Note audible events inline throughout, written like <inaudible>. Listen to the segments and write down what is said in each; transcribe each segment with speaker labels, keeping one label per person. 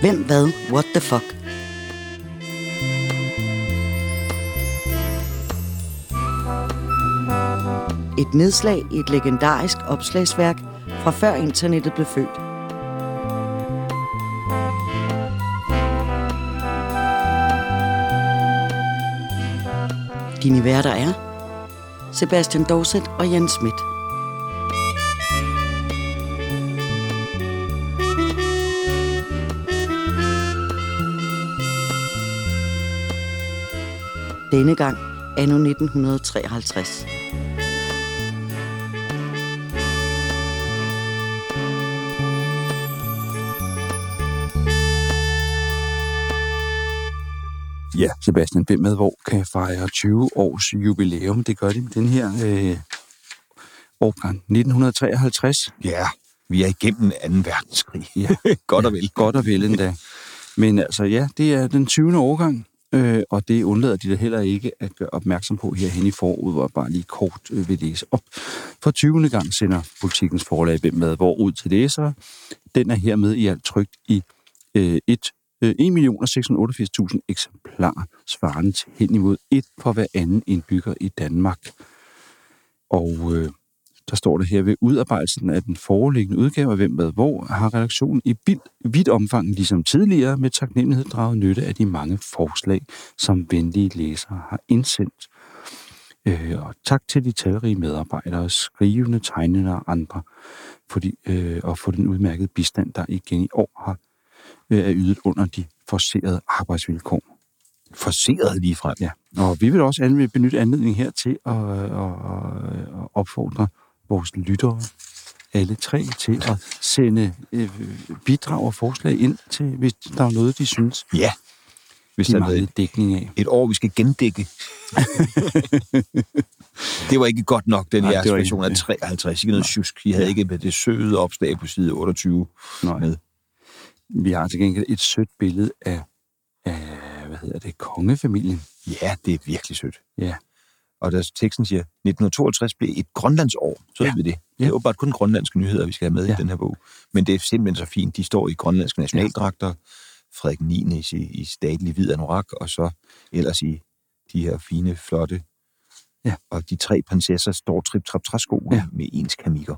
Speaker 1: Hvem hvad? What the fuck? Et nedslag i et legendarisk opslagsværk fra før internettet blev født. Dine værter er Sebastian Dorset og Jens Schmidt. Denne gang anno 1953.
Speaker 2: Ja, Sebastian, hvem med hvor kan fejre 20 års jubilæum? Det gør de med den her øh, årgang 1953.
Speaker 3: Ja, vi er igennem 2. verdenskrig.
Speaker 2: <laughs> Ja.
Speaker 3: Godt og vel.
Speaker 2: Godt og vel endda. Men altså ja, det er den 20. årgang, øh, og det undlader de da heller ikke at gøre opmærksom på herhen i foråret, hvor jeg bare lige kort øh, vil læse op. For 20. gang sender politikens forlag hvem med hvor ud til læsere. Den er hermed i alt trygt i øh, et øh, 1.688.000 eksemplarer, svarende til hen imod et for hver anden indbygger i Danmark. Og øh, der står det her, ved udarbejdelsen af den foreliggende udgave af Hvem Hvad Hvor, har redaktionen i vid- vidt omfang, ligesom tidligere, med taknemmelighed draget nytte af de mange forslag, som venlige læsere har indsendt. Øh, og tak til de talrige medarbejdere, skrivende, tegnende og andre, for de, øh, og for den udmærkede bistand, der igen i år har øh, er ydet under de forserede arbejdsvilkår.
Speaker 3: Forseret lige frem.
Speaker 2: Ja, og vi vil også anvende, benytte anledningen her til at, øh, at, at opfordre vores lyttere, alle tre, til at sende øh, bidrag og forslag ind til, hvis der er noget, de synes,
Speaker 3: Ja, hvis
Speaker 2: de
Speaker 3: der er noget,
Speaker 2: mangler dækning af.
Speaker 3: et år, vi skal
Speaker 2: <laughs>
Speaker 3: gendække. det var ikke godt nok, den
Speaker 2: Nej,
Speaker 3: her
Speaker 2: det var ikke-
Speaker 3: version af 53. Ikke noget sjusk. I havde
Speaker 2: Ja.
Speaker 3: ikke med det søde opslag på side 28
Speaker 2: Nej.
Speaker 3: med.
Speaker 2: Vi har til gengæld et sødt billede af, af hvad hedder det, kongefamilien.
Speaker 3: Ja, det er virkelig sødt.
Speaker 2: Ja.
Speaker 3: Og der teksten siger, 1962 blev et grønlandsår. Så ja. ved vi det. Det
Speaker 2: Ja.
Speaker 3: er åbenbart kun grønlandske nyheder, vi skal have med ja.
Speaker 2: Ja.
Speaker 3: i den her bog. Men det er simpelthen så fint. De står i grønlandske nationaldragter. Frederik 9. I, sin- i statlig hvid anorak, og så ellers i de her fine, flotte...
Speaker 2: Ja.
Speaker 3: Og de tre prinsesser står trip trap træsko ja.
Speaker 2: Ja.
Speaker 3: med ens kamikker.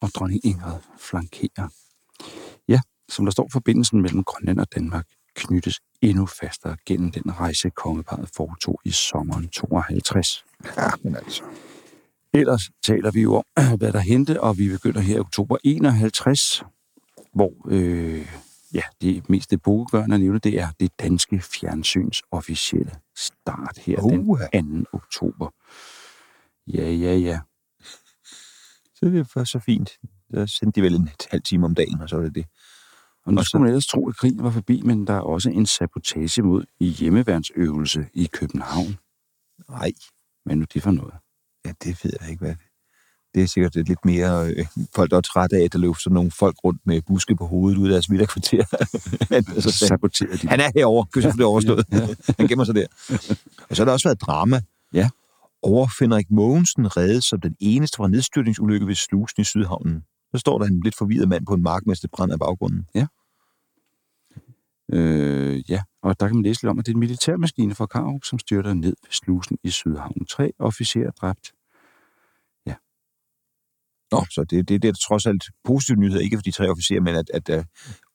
Speaker 2: og dronning Ingrid flankerer. Ja, som der står, forbindelsen mellem Grønland og Danmark knyttes endnu fastere gennem den rejse, kongeparet foretog i sommeren 52.
Speaker 3: Ja, men altså...
Speaker 2: Ellers taler vi jo om, <clears throat> hvad der hente, og vi begynder her i oktober 51, hvor øh, ja, det mest epokegørende at nævne, det er det danske fjernsyns officielle start her
Speaker 3: Uha.
Speaker 2: den 2. oktober. Ja, ja, ja.
Speaker 3: Så det var så fint. Der sendte de vel en halv time om dagen, og så var det det.
Speaker 2: Og nu
Speaker 3: Og så-
Speaker 2: skulle man ellers tro, at krigen var forbi, men der er også en sabotage mod hjemmeværnsøvelse i København.
Speaker 3: Nej,
Speaker 2: Men nu det for noget.
Speaker 3: ja, det ved jeg ikke, hvad det det er sikkert et lidt mere øh, folk, der er trætte af, at der løb sådan nogle folk rundt med buske på hovedet ud af deres <laughs> villakvarter. Han-
Speaker 2: Så
Speaker 3: så sagde han,
Speaker 2: saboterer de.
Speaker 3: han er herovre, kan vi så få det overstået.
Speaker 2: Ja,
Speaker 3: Han gemmer sig der. Og så har der også været drama.
Speaker 2: Ja.
Speaker 3: Over Henrik Mogensen reddet som den eneste fra nedstyrtningsulykke ved slusen i Sydhavnen. Så står der en lidt forvirret mand på en mark, mens det brænder af baggrunden.
Speaker 2: Øh, ja, og der kan man læse lidt om, at det er en militærmaskine fra Karup, som styrter ned ved slusen i Sydhavn. Tre officerer dræbt.
Speaker 3: Nå, så det, det, det er trods alt positive nyheder, ikke for de tre officerer, men at, at uh,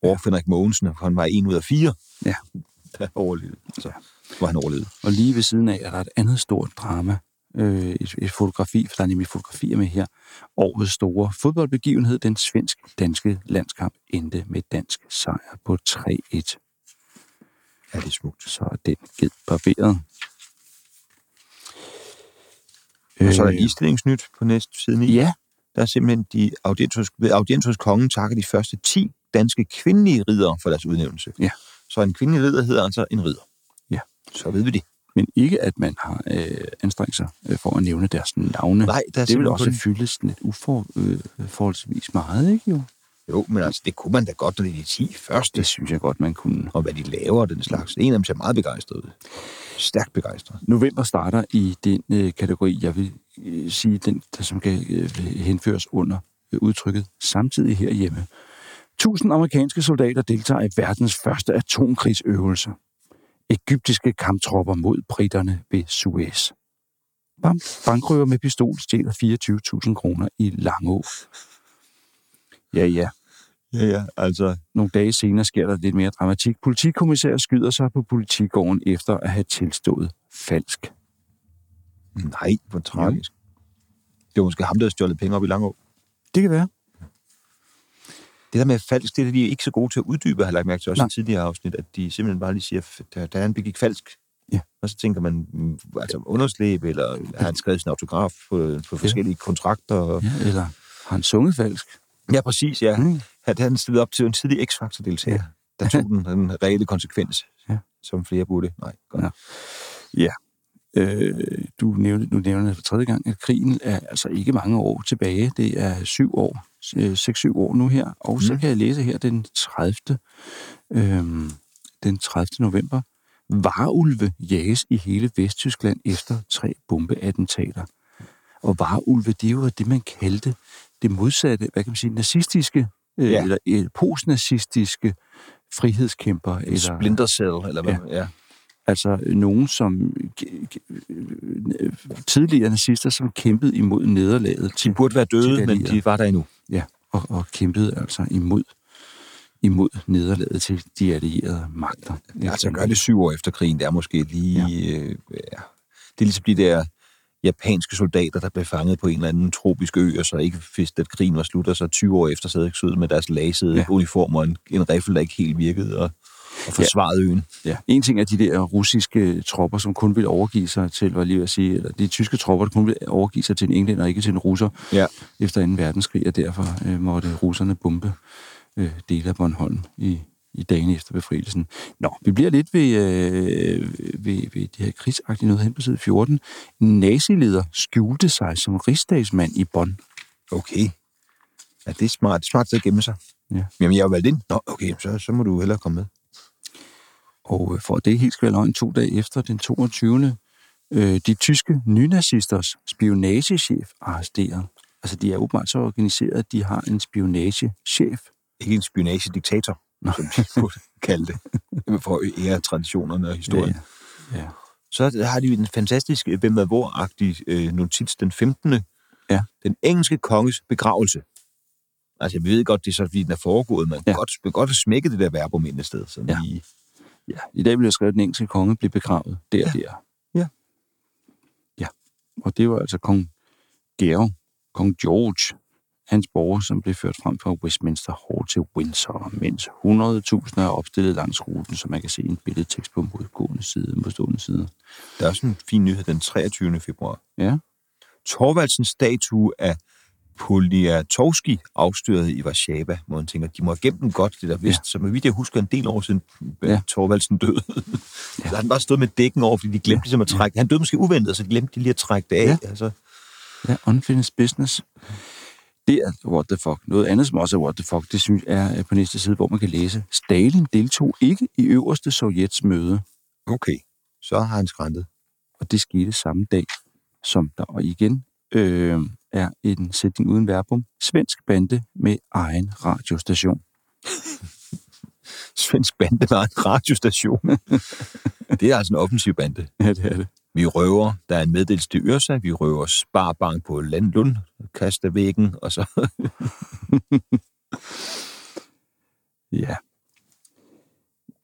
Speaker 3: over Henrik Mogensen, han var en ud af fire,
Speaker 2: Ja.
Speaker 3: <laughs> der overlevede. Så var han overlevet.
Speaker 2: Og lige ved siden af er der et andet stort drama. Øh, et, et fotografi, for der er nemlig fotografier med her. Årets store fodboldbegivenhed, den svensk-danske landskamp, endte med dansk sejr på 3-1.
Speaker 3: Ja, det er smukt.
Speaker 2: så er den ged barberet.
Speaker 3: Og så er der ligestillingsnyt på næste side 9.
Speaker 2: Øh, Ja,
Speaker 3: Der er simpelthen de audiens hos, ved audiens hos kongen takker de første 10 danske kvindelige ridere for deres udnævnelse.
Speaker 2: Ja.
Speaker 3: Så en kvindelig ridder hedder altså en ridder.
Speaker 2: Ja. Mm.
Speaker 3: Så ved vi det.
Speaker 2: men ikke at man har øh, anstrengt sig øh, for at nævne deres navne.
Speaker 3: Nej, der er
Speaker 2: det vil
Speaker 3: simpelthen
Speaker 2: også
Speaker 3: kun-
Speaker 2: fylde sådan lidt ufor, øh, forholdsvis meget, ikke jo?
Speaker 3: Jo, men altså, det kunne man da godt, når det er de 10 første.
Speaker 2: Det synes jeg godt, man kunne.
Speaker 3: Og hvad de laver og den slags. En af dem ser meget begejstret ud. Stærkt begejstret.
Speaker 2: November starter i den øh, kategori, jeg vil øh, sige, den, der, som kan øh, henføres under øh, udtrykket samtidig herhjemme. Tusind amerikanske soldater deltager i verdens første atomkrigsøvelse. Ægyptiske kamptropper mod britterne ved Suez. Bam, bankrøver med pistol stjæler 24.000 kroner i Langå. Ja, ja.
Speaker 3: Ja, ja, altså,
Speaker 2: Nogle dage senere sker der lidt mere dramatik. Politikommissær skyder sig på politigården efter at have tilstået falsk.
Speaker 3: nej, hvor tragisk. Det var måske ham, der havde stjålet penge op i Langå.
Speaker 2: Det kan være.
Speaker 3: Det der med falsk, det er de ikke så gode til at uddybe, har jeg lagt mærke til også
Speaker 2: Nej.
Speaker 3: i tidligere afsnit, at de simpelthen bare lige siger, at der, der han begik falsk.
Speaker 2: Ja.
Speaker 3: Og så tænker man, mm, altså underslæb, eller har han skrevet sin autograf på, på forskellige kontrakter?
Speaker 2: Ja, eller har han sunget falsk?
Speaker 3: Ja, præcis, ja.
Speaker 2: Mm.
Speaker 3: At han stillede op til en tidlig X-Factor-deltager. Ja. Der tog den, den reelle konsekvens,
Speaker 2: Ja.
Speaker 3: ja. som flere burde. Nej, godt.
Speaker 2: Ja. Øh, du nævnte, nu nævner jeg for tredje gang, at krigen er altså ikke mange år tilbage. Det er syv år, øh, seks, syv år nu her. Og så
Speaker 3: Mm.
Speaker 2: kan jeg læse her den 30. Øhm, den 30. november. Varulve jages i hele Vesttyskland efter tre bombeattentater. Og varulve, det er jo det, man kaldte det modsatte, hvad kan man sige, nazistiske, øh,
Speaker 3: Ja.
Speaker 2: ja. eller øh, postnazistiske frihedskæmper.
Speaker 3: Eller...
Speaker 2: Eller,
Speaker 3: Splinter Cell, eller hvad?
Speaker 2: Ja.
Speaker 3: Ja.
Speaker 2: Altså øh, nogen, som g- g- øh, tidligere nazister, som kæmpede imod nederlaget til,
Speaker 3: De burde være
Speaker 2: De
Speaker 3: døde, men
Speaker 2: allierede.
Speaker 3: de var der endnu.
Speaker 2: ja, og, og kæmpede altså imod, imod nederlaget til de allierede magter.
Speaker 3: Ja, altså gør det syv år efter krigen, det er måske lige... Ja. Øh, ja. Det er ligesom de der japanske soldater, der blev fanget på en eller anden tropisk ø, og så ikke vidste, at krigen var slut, og så 20 år efter sad ud med deres lasede
Speaker 2: Ja.
Speaker 3: ja. uniformer og en, en riffel, der ikke helt virkede, og, og forsvarede øen.
Speaker 2: Ja. En ting er de der russiske tropper, som kun ville overgive sig til, var jeg lige ved at sige, eller de tyske tropper, der kun ville overgive sig til en englænder og ikke til en russer
Speaker 3: Ja.
Speaker 2: efter 2. verdenskrig, og derfor øh, måtte russerne bombe øh, dele af Bornholm i, i dagene efter befrielsen. Nå, vi bliver lidt ved, øh, ved, ved det her krigsagtige noget hen på side 14. En nazileder skjulte sig som rigsdagsmand i Bonn.
Speaker 3: Okay. Ja, det er smart. Det er smart sted at gemme sig.
Speaker 2: Ja.
Speaker 3: Jamen, jeg har jo valgt ind. Nå, okay, så, så må du hellere komme med.
Speaker 2: Og øh, for at det ikke helt skal være løgn, to dage efter den 22. Øh, de tyske nynazisters spionagechef arresteret. Altså, de er åbenbart så organiseret, at de har en spionagechef.
Speaker 3: Ikke en spionagediktator,
Speaker 2: Nå.
Speaker 3: som de burde kalde
Speaker 2: <laughs>
Speaker 3: det. For at ære traditionerne og historien.
Speaker 2: Ja, ja. ja.
Speaker 3: Så har de jo den fantastiske Hvem er hvor-agtige øh, notits den 15.
Speaker 2: Ja.
Speaker 3: Den engelske konges begravelse. Altså, vi ved godt, det er så, fordi den er foregået, men
Speaker 2: Ja.
Speaker 3: ja. godt, vi kan godt have smækket det der verbum ind et sted. Sådan
Speaker 2: Ja.
Speaker 3: ja. lige.
Speaker 2: Ja, i dag blev jeg skrevet, at den engelske konge blev begravet der ja. der.
Speaker 3: Ja.
Speaker 2: Ja, og det var altså kong Georg, kong George, hans borger, som blev ført frem fra Westminster Hall til Windsor, mens 100.000 er opstillet langs ruten, så man kan se en billedtekst på modgående side, modstående side.
Speaker 3: Der er også en fin nyhed den 23. februar.
Speaker 2: Ja.
Speaker 3: Torvaldsens statue af Poliatovski afstøret i Warszawa, hvor man tænker, de må have gemt den godt, det der vist. Ja. Så med vidt jeg husker en del år siden,
Speaker 2: Ja.
Speaker 3: ja. Torvaldsen døde. Ja. Så har den bare stået med dækken over, fordi de glemte ja. ligesom at trække Han døde måske uventet, så glemte de lige at trække det af.
Speaker 2: Ja.
Speaker 3: Ja. Altså,
Speaker 2: Ja, unfinished business. Det er what the fuck. Noget andet, som også er what the fuck, det synes jeg er på næste side, hvor man kan læse. Stalin deltog ikke i øverste Sovjets møde,
Speaker 3: okay, så har han skræntet.
Speaker 2: og det skete samme dag, som der og igen øh, er en sætning uden verbum. Svensk bande med egen radiostation.
Speaker 3: Svensk bande var en radiostation. det er altså en offensiv bande.
Speaker 2: Ja, det er det.
Speaker 3: Vi røver, der er en meddelelse til Ørsa, vi røver Sparbank på Landlund, Kastavæggen, og så
Speaker 2: Ja.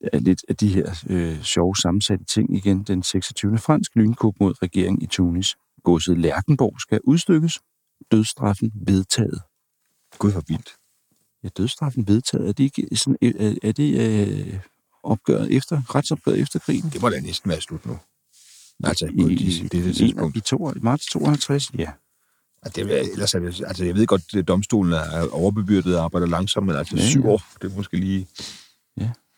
Speaker 2: Det er lidt af de her øh, sjove sammensatte ting igen. Den 26. fransk lynkup mod regeringen i Tunis. Godset Lærkenborg skal udstykkes. Dødstraffen vedtaget.
Speaker 3: Gud, hvor vildt.
Speaker 2: Ja, dødstraffen vedtaget. Er det, ikke sådan, er, er det øh, opgøret efter, retsopgøret efter krigen?
Speaker 3: Det må da næsten være slut nu. Altså,
Speaker 2: I,
Speaker 3: på de- det, det tidspunkt.
Speaker 2: i, to, i marts 52? Ja.
Speaker 3: Altså, det, er- ellers er det, altså, jeg ved godt, at domstolen er overbebyrdet og arbejder langsomt, men altså
Speaker 2: Ja,
Speaker 3: syv
Speaker 2: ja.
Speaker 3: år, det er måske lige...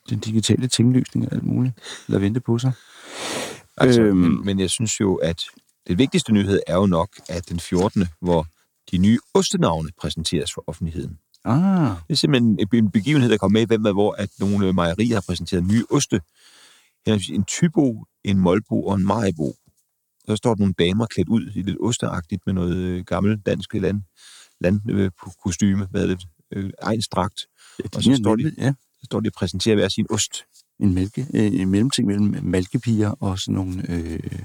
Speaker 2: Den digitale tinglysning og alt muligt. Lad vente på sig.
Speaker 3: Altså,
Speaker 2: Øhm.
Speaker 3: øhm. men, men jeg synes jo, at den vigtigste nyhed er jo nok, at den 14., hvor de nye ostenavne præsenteres for offentligheden.
Speaker 2: Ah,
Speaker 3: Det er simpelthen en- en begivenhed, der kom med i Hvem er hvor, at nogle øh, mejerier har præsenteret nye oste. Henholdsvis En tybo, en molbo og en majbo. Så står der nogle damer klædt ud i lidt osteagtigt med noget øh, gammel dansk land, land øh, på kostyme, hvad er det, øh, egensdragt,
Speaker 2: Ja,
Speaker 3: og så
Speaker 2: ligner
Speaker 3: står
Speaker 2: nemlig- ja,
Speaker 3: så står de og præsenterer hver sin ost.
Speaker 2: en, mælke, øh, en mellemting mellem malkepiger og sådan nogle øh,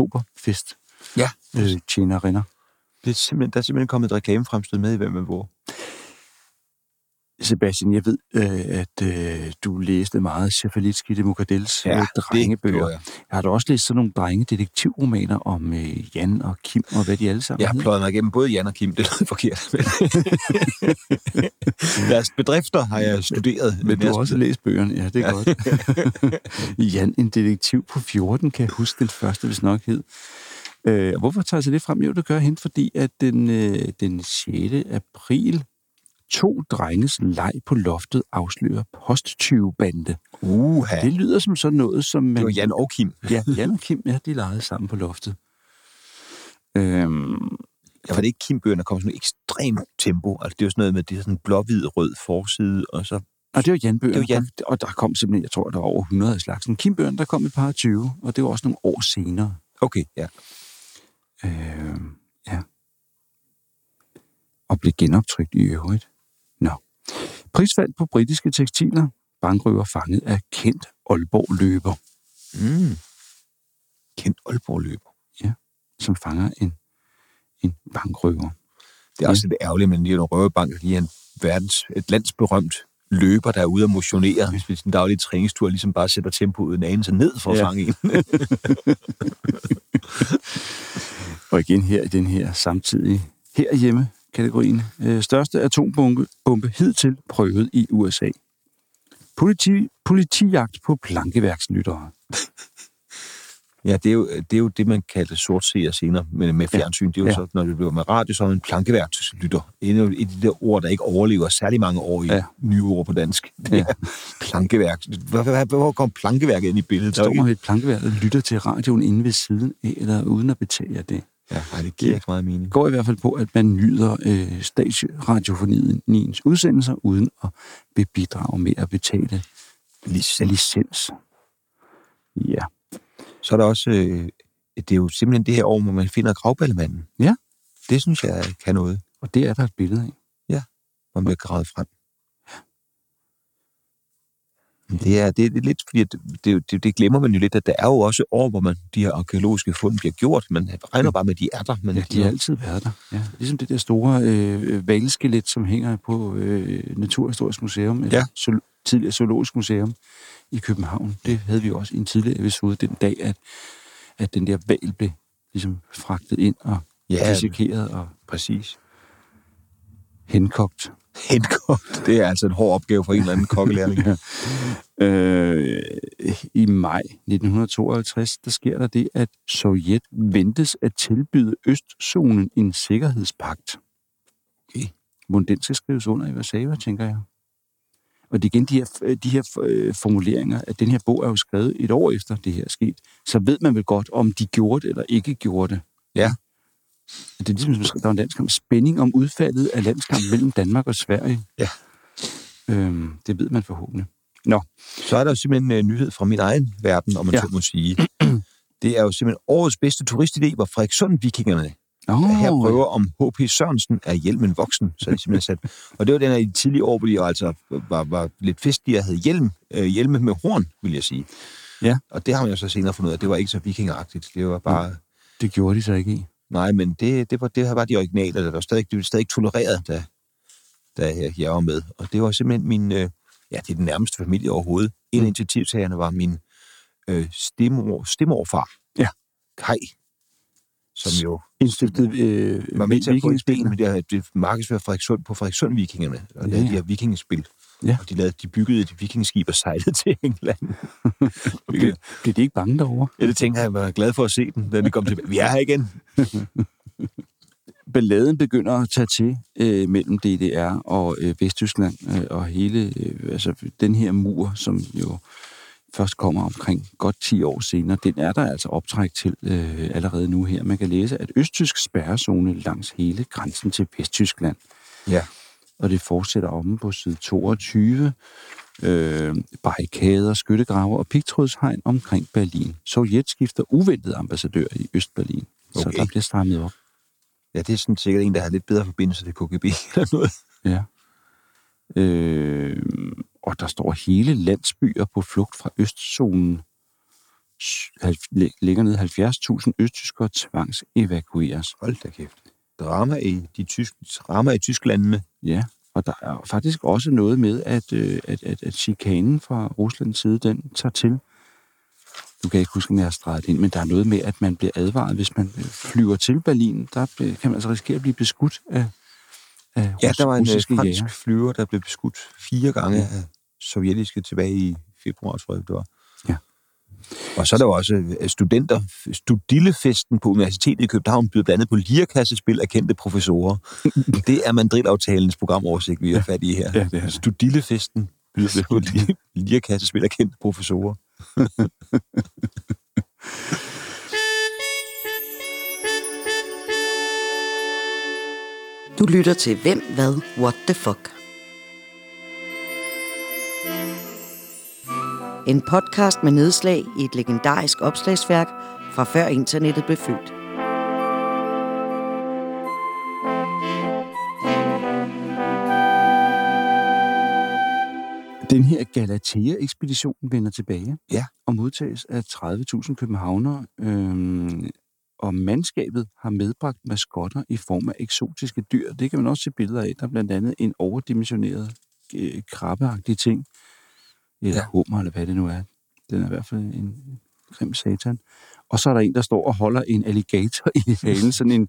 Speaker 2: oktoberfest.
Speaker 3: Ja.
Speaker 2: Øh, tjenerinder.
Speaker 3: Det er simpelthen, der er simpelthen kommet et reklamefremstød med i, hvem man bor.
Speaker 2: Sebastian, jeg ved, øh, at øh, du læste meget Sjafalitski de Mukadels ja, drengebøger.
Speaker 3: jeg.
Speaker 2: Jeg har da også læst sådan nogle drenge-detektivromaner om øh, Jan og Kim og hvad de alle sammen
Speaker 3: Jeg har
Speaker 2: hedder.
Speaker 3: pløjet mig igennem både Jan og Kim, det lyder forkert.
Speaker 2: <laughs>
Speaker 3: men- Deres bedrifter har jeg studeret.
Speaker 2: Men du
Speaker 3: jeg
Speaker 2: har også læst bøgerne, ja, det er ja. godt. <laughs> Jan, en detektiv på 14, kan jeg huske den første, hvis nok hed. Øh, og hvorfor tager jeg så det frem? Jo, det gør jeg hende, fordi at den, øh, den 6. april, to drenges leg på loftet afslører posttyvebande.
Speaker 3: Uha.
Speaker 2: Ja. Det lyder som sådan noget, som man...
Speaker 3: Det var Jan og Kim.
Speaker 2: Ja, Jan og Kim, ja, de legede sammen på loftet. Øhm,
Speaker 3: Jeg var det ikke Kim-bøgerne, der kom sådan et ekstremt tempo. Altså, det er jo sådan noget med, det er sådan en blå-hvid-rød forside, og så...
Speaker 2: og det var Jan Bøger.
Speaker 3: Det var Jan.
Speaker 2: Og der kom simpelthen, jeg tror, der var over 100 af slagsen. Kim Bøgerne, der kom et par og 20, og det var også nogle år senere.
Speaker 3: Okay, ja.
Speaker 2: Øh, ja. Og blev genoptrykt i øvrigt. Nå. Prisfald på britiske tekstiler. Bankrøver fanget af kendt Aalborg-løber,
Speaker 3: Mm. Kendt Aalborg-løber.
Speaker 2: som fanger en, en bankrøver.
Speaker 3: Det er også lidt ærgerligt, men lige en røvebank, der lige er en verdens, et landsberømt løber, der er ude og motionere, hvis vi sådan en daglig træningstur ligesom bare sætter tempoet en anelse ned for at
Speaker 2: Ja.
Speaker 3: fange en.
Speaker 2: Og igen her i den her samtidige herhjemme kategorien. Øh, største atombombe bombe hidtil prøvet i USA. Politi, politijagt på plankeværkslyttere.
Speaker 3: Ja, det er, jo, det er jo det, man kaldte sortseer senere med, med fjernsyn. Det er jo
Speaker 2: Ja.
Speaker 3: ja. så, når det bliver med radio, så er man en plankeværkslytter. Et af et af de der ord, der ikke overlever særlig mange år i
Speaker 2: Ja.
Speaker 3: ja. nye ord på dansk. Det
Speaker 2: Ja.
Speaker 3: ja. er plankeværk. Hvor, hvor, hvor kom plankeværket ind i billedet?
Speaker 2: Står
Speaker 3: Står
Speaker 2: man ved et plankeværk og lytter til radioen inde ved siden af, eller uden at betale det.
Speaker 3: Ja, nej, det giver ikke så meget mening.
Speaker 2: går i hvert fald på, at man nyder øh, statsradiofoniens udsendelser, uden at vil bidrage med at betale
Speaker 3: Licens.
Speaker 2: licens. Ja.
Speaker 3: Så er der også... Øh, det er jo simpelthen det her år, hvor man finder gravballemanden.
Speaker 2: Ja.
Speaker 3: Det synes jeg kan noget,
Speaker 2: Og det er der et billede af.
Speaker 3: hvor man bliver gravet frem. Det er, det er lidt, fordi at det, det, det glemmer man jo lidt, at der er jo også år, hvor man, de her arkeologiske fund bliver gjort. Man regner bare med, at de er der, men
Speaker 2: Ja, de har altid været der. Ja. Ligesom det der store øh, valskelet, som hænger på øh, Naturhistorisk Museum, eller
Speaker 3: Ja.
Speaker 2: ja. tidligere Zoologisk Museum i København. Det havde vi jo også i en tidligere episode, den dag, at, at den der val blev ligesom fragtet ind og ja,
Speaker 3: ja,
Speaker 2: dissekeret og
Speaker 3: præcis.
Speaker 2: henkogt.
Speaker 3: Henkogt. Det er altså en hård opgave for en eller anden
Speaker 2: <laughs>
Speaker 3: kokkelærling.
Speaker 2: Øh, I maj 1952, der sker der det, at Sovjet ventes at tilbyde Østzonen en sikkerhedspagt.
Speaker 3: Okay.
Speaker 2: Må den skal skrives under i Warszawa, tænker jeg. Og det er igen de her, de her øh, formuleringer, at den her bog er jo skrevet et år efter det her er sket, så ved man vel godt, om de gjorde det eller ikke gjorde det.
Speaker 3: Ja.
Speaker 2: Det er ligesom, som der var en landskamp. Spænding om udfaldet af landskampen mellem Danmark og Sverige.
Speaker 3: Ja.
Speaker 2: Øhm, det ved man forhåbentlig.
Speaker 3: Så er der jo simpelthen en nyhed fra min egen verden, om man
Speaker 2: Ja.
Speaker 3: ja. så må sige. Det er jo simpelthen årets bedste turistidé, var Frederikssund Vikingerne
Speaker 2: Oh,
Speaker 3: her prøver om H.P. Sørensen er hjelmen voksen, så er de simpelthen sat. Og det var den her i de tidlige år, hvor de jo altså var, var lidt festlige og havde hjelm, øh, hjelme med horn, vil jeg sige.
Speaker 2: Ja.
Speaker 3: Og det har man jo så senere fundet ud af, det var ikke så vikingeragtigt. Det var bare, mm.
Speaker 2: Det gjorde de så ikke i.
Speaker 3: nej, men det, det, var, det her var de originale, der var stadig, det var stadig tolereret, da, da jeg, jeg var med. Og det var simpelthen min, øh, ja, det er den nærmeste familie overhovedet. En
Speaker 2: Mm.
Speaker 3: af initiativtagerne var min øh, stemor, stemorfar,
Speaker 2: Ja.
Speaker 3: Kai, som jo
Speaker 2: Indstiftet øh,
Speaker 3: var med til at få ideen
Speaker 2: vikingespillene.
Speaker 3: med det her det markedsfører Frederikssund på Frederikssund Vikingerne, og
Speaker 2: Ja,
Speaker 3: ja, ja.
Speaker 2: ja.
Speaker 3: de her vikingespil.
Speaker 2: Ja.
Speaker 3: Og de, lavede, de byggede et vikingskib og sejlede <laughs> til England.
Speaker 2: Blev, blev de ikke bange derovre?
Speaker 3: <laughs> ja, det tænker jeg, jeg var glad for at se den, da de kom tilbage. Vi er her igen.
Speaker 2: Balladen begynder at tage til øh, mellem DDR og øh, Vesttyskland, øh, og hele øh, altså, den her mur, som jo først kommer omkring godt 10 år senere, den er der altså optræk til øh, allerede nu her. Man kan læse, at østtysk spærrezone langs hele grænsen til Vesttyskland
Speaker 3: Ja.
Speaker 2: og det fortsætter omme på side 22. Øh, barrikader, skyttegrave og pigtrådshegn omkring Berlin. Sovjet skifter uventet ambassadør i Østberlin. Okay. Så
Speaker 3: Okay.
Speaker 2: der bliver strammet op.
Speaker 3: ja, det er sådan sikkert en, der har lidt bedre forbindelse til KGB eller noget.
Speaker 2: Ja. Øh, og der står hele landsbyer på flugt fra østzonen. S- halv- Ligger ned 70.000 østtyskere tvangsevakueres.
Speaker 3: Hold da kæft. Drama i, de tysk, drama i Tysklandene.
Speaker 2: Ja, og der er faktisk også noget med, at, øh, at, at, at chikanen fra Ruslands side, den tager til. Du kan jeg ikke huske, om jeg har streget det ind, men der er noget med, at man bliver advaret, hvis man øh, flyver til Berlin. Der øh, kan man altså risikere at blive beskudt af, af
Speaker 3: Ja,
Speaker 2: rus-
Speaker 3: der var en øh,
Speaker 2: russiske
Speaker 3: fransk
Speaker 2: jæger.
Speaker 3: flyver, der blev beskudt fire gange af sovjetiske tilbage i februar, tror jeg, det var.
Speaker 2: Ja.
Speaker 3: Og så er der jo også øh, studenter. Studillefesten på Universitetet i København byder blandt andet på lirakassespil af kendte
Speaker 2: <laughs>
Speaker 3: professorer. det er mandrilaftalens programoversigt, vi har fat i her.
Speaker 2: Ja, det er det.
Speaker 3: Studillefesten byder på lir- lirakassespil af kendte professorer.
Speaker 1: Du lytter til Hvem, Hvad, What the Fuck. En podcast med nedslag i et legendarisk opslagsværk fra før internettet blev født.
Speaker 2: Den her Galatea-ekspedition vender tilbage
Speaker 3: Ja.
Speaker 2: og modtages af 30.000 københavnere, øhm, og mandskabet har medbragt maskotter i form af eksotiske dyr. Det kan man også se billeder af. Der er blandt andet en overdimensioneret øh, krabbeagtig ting, eller
Speaker 3: Ja.
Speaker 2: ja. hummer, eller hvad det nu er. Den er i hvert fald en grim satan. Og så er der en, der står og holder en alligator i halen, sådan en,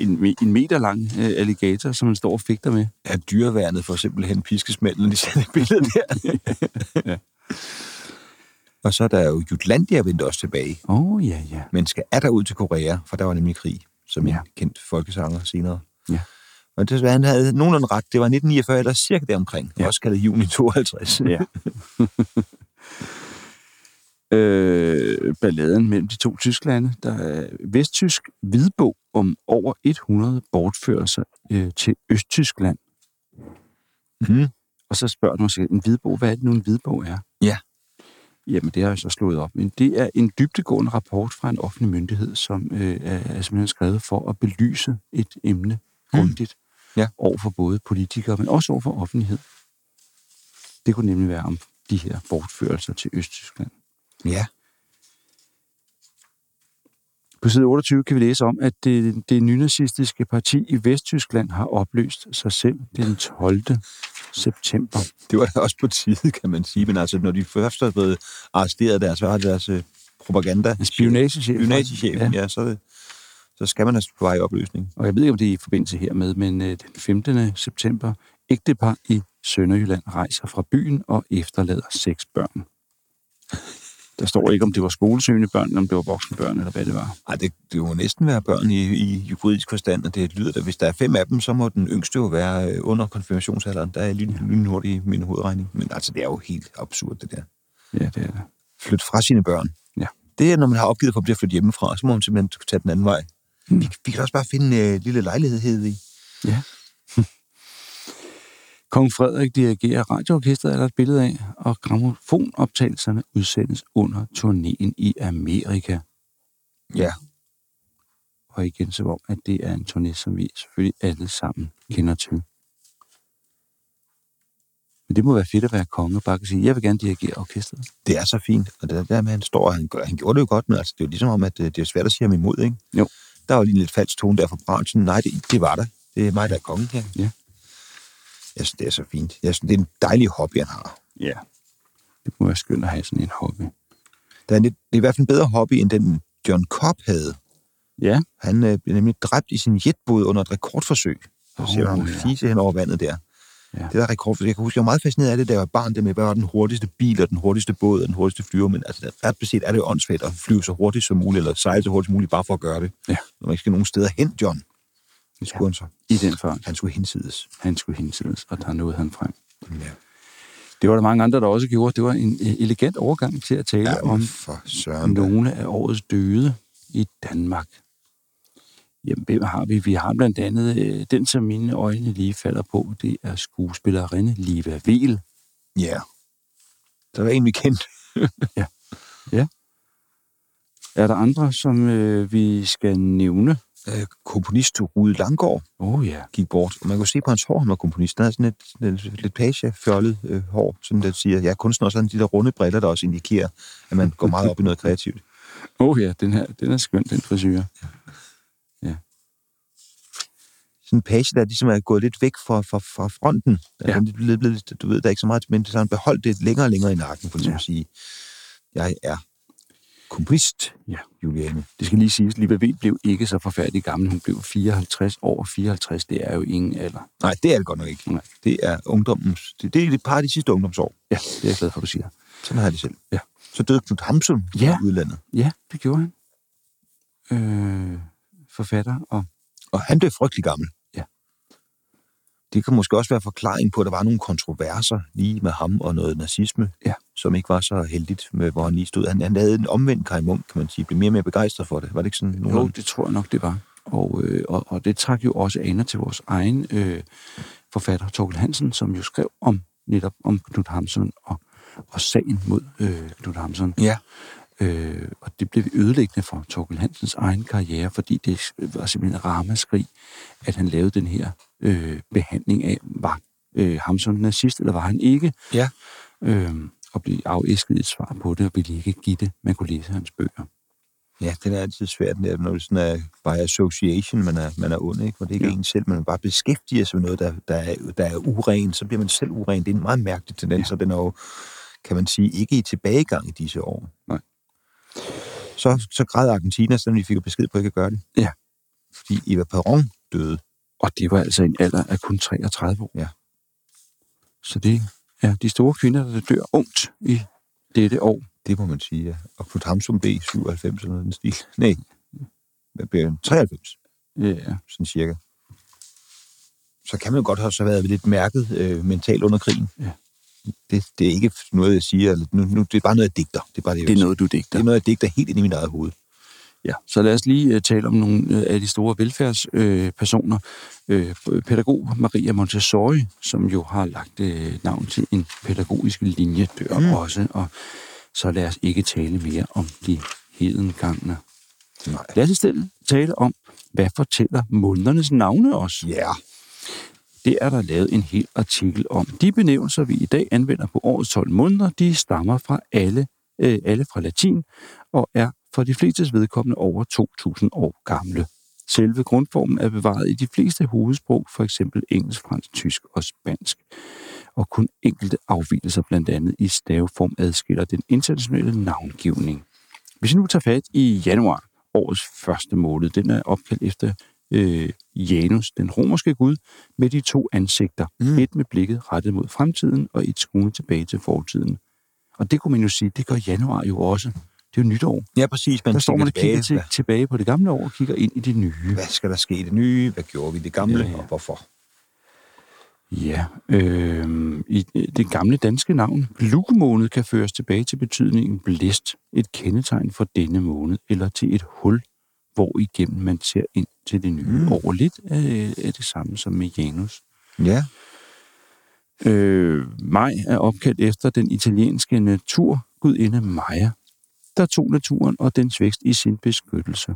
Speaker 2: en, en meter lang øh, alligator, som han står og fægter med.
Speaker 3: Ja, dyreværnet får simpelthen piskesmælden i sådan et billede der.
Speaker 2: <laughs> Ja.
Speaker 3: Og så er der jo Jutlandia vendt også tilbage.
Speaker 2: Åh, oh, ja, ja.
Speaker 3: men skal er der ud til Korea, for der var nemlig krig, som ja.
Speaker 2: Ja.
Speaker 3: en kendt folkesanger senere.
Speaker 2: Ja.
Speaker 3: Og det, han havde nogenlunde ret, det var 1949 eller cirka deromkring, ja.
Speaker 2: Ja.
Speaker 3: også kaldet juni 52.
Speaker 2: Ja. <laughs> øh, balladen mellem de to Tysklande. Der er vesttysk hvidbog om over 100 bortførelser øh, til Østtyskland.
Speaker 3: Mhm.
Speaker 2: Og så spørger du sig, en hvidbog, hvad er det nu en hvidbog er?
Speaker 3: Ja.
Speaker 2: Jamen, det har jeg så slået op. Men det er en dybtegående rapport fra en offentlig myndighed, som øh, er, er simpelthen skrevet for at belyse et emne grundigt.
Speaker 3: Mm. Ja.
Speaker 2: Over for både politikere, men også over for offentlighed. Det kunne nemlig være om de her bortførelser til Østtyskland.
Speaker 3: ja.
Speaker 2: På side 28 kan vi læse om, at det, det nynazistiske parti i Vesttyskland har opløst sig selv den 12. september.
Speaker 3: Det var da også på tide, kan man sige, men altså, når de først er blevet arresteret der, så har deres øh, propaganda...
Speaker 2: Spionagechef.
Speaker 3: Spionagechefen,
Speaker 2: Ja.
Speaker 3: ja, ja så, så skal man altså på vej i opløsning.
Speaker 2: Og jeg ved ikke, om det er i forbindelse hermed, men øh, den 15. september, ægtepar i Sønderjylland rejser fra byen og efterlader seks børn. Der står ikke, om det var skolesøgende børn, eller om det var voksne børn, eller hvad det var.
Speaker 3: Ej, det, det må næsten være børn i, i juridisk forstand, og det lyder da, hvis der er fem af dem, så må den yngste jo være øh, under konfirmationsalderen. Der er jeg lyn- lynhurtig i min hovedregning. Men altså, det er jo helt absurd, det der.
Speaker 2: Ja, det er det.
Speaker 3: Flyt fra sine børn.
Speaker 2: Ja.
Speaker 3: Det er, når man har opgivet for at blive flyttet hjemmefra, så må man simpelthen tage den anden vej.
Speaker 2: Hmm.
Speaker 3: Vi, vi kan da også bare finde en øh, lille lejlighed hed i.
Speaker 2: Ja. Kong Frederik dirigerer radioorkestret, er der et billede af, og gramofonoptagelserne udsendes under turnéen i Amerika.
Speaker 3: Ja.
Speaker 2: Og igen så om, at det er en turné, som vi selvfølgelig alle sammen kender til. Men det må være fedt at være konge og bare kan sige, jeg vil gerne dirigere orkestret.
Speaker 3: Det er så fint, og det er der med, han står, og han, gør, han gjorde det jo godt, men altså, det er jo ligesom om, at øh, det er svært at sige ham imod, ikke?
Speaker 2: Jo.
Speaker 3: Der var lige en lidt falsk tone der fra branchen. Nej, det, det var der. Det er mig, der er kongen her.
Speaker 2: Ja.
Speaker 3: Jeg synes, det er så fint. Jeg synes, det er en dejlig hobby, han har.
Speaker 2: Ja. Det må være skønt at have sådan en hobby.
Speaker 3: Der er lidt, det er i hvert fald en bedre hobby, end den John Cobb havde.
Speaker 2: Ja.
Speaker 3: Han øh, blev nemlig dræbt i sin jetbåd under et rekordforsøg. Så ser
Speaker 2: Åh,
Speaker 3: man
Speaker 2: ja.
Speaker 3: ham fise hen over vandet der.
Speaker 2: Ja.
Speaker 3: Det der rekordforsøg, jeg kan huske, jeg var meget fascineret af det, da jeg var barn, det med, hvad var den hurtigste bil, og den hurtigste båd, og den hurtigste flyver, men altså, ret beset er det jo åndssvagt at flyve så hurtigt som muligt, eller sejle så hurtigt som muligt, bare for at gøre det.
Speaker 2: Ja.
Speaker 3: Når man ikke skal nogen steder hen, John. Det skulle ja. han så.
Speaker 2: I den fart.
Speaker 3: Han skulle hensides.
Speaker 2: Han skulle hensides, og der nåede han frem.
Speaker 3: Ja.
Speaker 2: Det var der mange andre, der også gjorde. Det var en øh, elegant overgang til at tale
Speaker 3: Ja,
Speaker 2: ja, om
Speaker 3: for søren. da.
Speaker 2: nogle af årets døde i Danmark. Jamen, hvem har vi? Vi har blandt andet øh, den, som mine øjne lige falder på, det er skuespillerinde Liva Vel.
Speaker 3: Ja. Der var en, vi kendte.
Speaker 2: Er der andre, som øh, vi skal nævne?
Speaker 3: øh, komponist Rude Langgaard
Speaker 2: Åh oh, ja.
Speaker 3: gik bort. Og man kunne se på hans hår, han var komponist. Han havde sådan et, et lidt pagefjollet øh, hår, sådan der siger, ja, kunstner, og sådan de der runde briller, der også indikerer, at man går meget op i noget kreativt.
Speaker 2: Åh oh, ja, den her, den er skøn, den frisyr.
Speaker 3: Sådan en page, der ligesom er gået lidt væk fra, fra, fra fronten. Ja.
Speaker 2: Ja.
Speaker 3: Altså, det er blevet, blevet, du ved, der er ikke så meget, men så har han beholdt det længere og længere i nakken, for ligesom
Speaker 2: Ja.
Speaker 3: ja. at sige, jeg er komponist,
Speaker 2: Ja.
Speaker 3: Juliane.
Speaker 2: Det skal lige siges, Liba Wiel blev ikke så forfærdelig gammel. Hun blev 54 år, og 54, det er jo ingen alder.
Speaker 3: Nej, det er det godt nok ikke.
Speaker 2: Nej.
Speaker 3: Det er ungdommens, det, det er et par af de sidste ungdomsår.
Speaker 2: Ja, det er jeg glad for, du siger.
Speaker 3: Sådan har jeg det selv.
Speaker 2: Ja.
Speaker 3: Så døde Knud Hamsun
Speaker 2: Ja.
Speaker 3: ja. i udlandet,
Speaker 2: Ja, det gjorde han. Øh, forfatter og...
Speaker 3: og han blev frygtelig gammel.
Speaker 2: Ja.
Speaker 3: Det kan måske også være forklaring på, at der var nogle kontroverser lige med ham og noget nazisme,
Speaker 2: Ja.
Speaker 3: som ikke var så heldigt, med, hvor han lige stod. Han, han havde en omvendt Kai Munk, kan man sige. Blev mere og mere begejstret for det. Var det ikke sådan nogen?
Speaker 2: Jo, det tror jeg nok, det var. Og, øh, og, og det trak jo også aner til vores egen øh, forfatter, Torkel Hansen, som jo skrev om netop om Knud Hamsun og, og sagen mod øh, Knud Hamsun.
Speaker 3: Ja.
Speaker 2: Øh, og det blev ødelæggende for Torkel Hansens egen karriere, fordi det var simpelthen ramaskrig, at han lavede den her øh, behandling af, var øh, Hamsun nazist, eller var han ikke?
Speaker 3: Ja.
Speaker 2: Øh, og blev afæsket et svar på det, og ville ikke give det. Man kunne læse hans bøger.
Speaker 3: Ja, den er altid svært, den der, når det sådan er by association, man er, man er ond, ikke? Hvor det ikke ja. er en selv, men man bare beskæftiger sig med noget, der, der, er, der er uren, så bliver man selv uren. Det er en meget mærkelig tendens, ja. og den er jo, kan man sige, ikke i tilbagegang i disse år.
Speaker 2: Nej.
Speaker 3: Så, så græd Argentina, selvom de fik jo besked på ikke at gøre det.
Speaker 2: Ja.
Speaker 3: Fordi Eva Perron døde.
Speaker 2: Og det var altså en alder af kun 33 år.
Speaker 3: Ja.
Speaker 2: Så det er de store kvinder, der dør ungt i dette år.
Speaker 3: Det må man sige, ja. Og Knut Hamsun B. 97 eller noget i den stil. Nej, hvad blev han? 93.
Speaker 2: Ja.
Speaker 3: sådan cirka. Så kan man jo godt have så været lidt mærket øh, mentalt under krigen.
Speaker 2: Ja.
Speaker 3: Det, det er ikke noget, jeg siger. eller Nu, nu, det er bare noget, jeg digter. Det er, bare det, jeg
Speaker 2: Det
Speaker 3: vil
Speaker 2: er
Speaker 3: sige.
Speaker 2: noget, du
Speaker 3: det
Speaker 2: digter.
Speaker 3: er noget, jeg digter helt ind i mit eget hoved.
Speaker 2: Ja. Så lad os lige uh, tale om nogle øh, af de store velfærdspersoner. Øh, personer. øh, pædagog Maria Montessori, som jo har lagt øh, navn til en pædagogisk linje, dør mm.
Speaker 3: Mm.
Speaker 2: også. Og så lad os ikke tale mere om de hedengangne.
Speaker 3: Nej.
Speaker 2: Lad os i stedet tale om, hvad fortæller månedernes navne os?
Speaker 3: Ja.
Speaker 2: Det er der lavet en hel artikel om. De benævnelser, vi i dag anvender på årets 12 måneder, de stammer fra alle, øh, alle fra latin og er for de flestes vedkommende over 2.000 år gamle. Selve grundformen er bevaret i de fleste hovedsprog, for eksempel engelsk, fransk, tysk og spansk. Og kun enkelte afvielser, blandt andet i staveform, adskiller den internationale navngivning. Hvis vi nu tager fat i januar, årets første måned, den er opkaldt efter øh, Janus, den romerske gud, med de to ansigter. Mm.
Speaker 3: Mm.
Speaker 2: Et med blikket rettet mod fremtiden, og et skruende tilbage til fortiden. Og det kunne man jo sige, det gør januar jo også. Det er jo nytår.
Speaker 3: ja, præcis. Man
Speaker 2: Der står man og kigger
Speaker 3: tilbage,
Speaker 2: til,
Speaker 3: Hvad,
Speaker 2: tilbage på det gamle år og kigger ind i det nye.
Speaker 3: hvad skal der ske i det nye? Hvad gjorde vi i det gamle?
Speaker 2: Ja, ja.
Speaker 3: Og hvorfor?
Speaker 2: Ja, øh, i det gamle danske navn, glukemåned, kan føres tilbage til betydningen blæst, et kendetegn for denne måned, eller til et hul, hvor igennem man ser ind til det nye mm.
Speaker 3: Mm.
Speaker 2: år. Lidt af, af det samme som med Janus.
Speaker 3: Ja.
Speaker 2: Øh, maj er opkaldt efter den italienske naturgudinde Maja, der tog naturen og dens vækst i sin beskyttelse.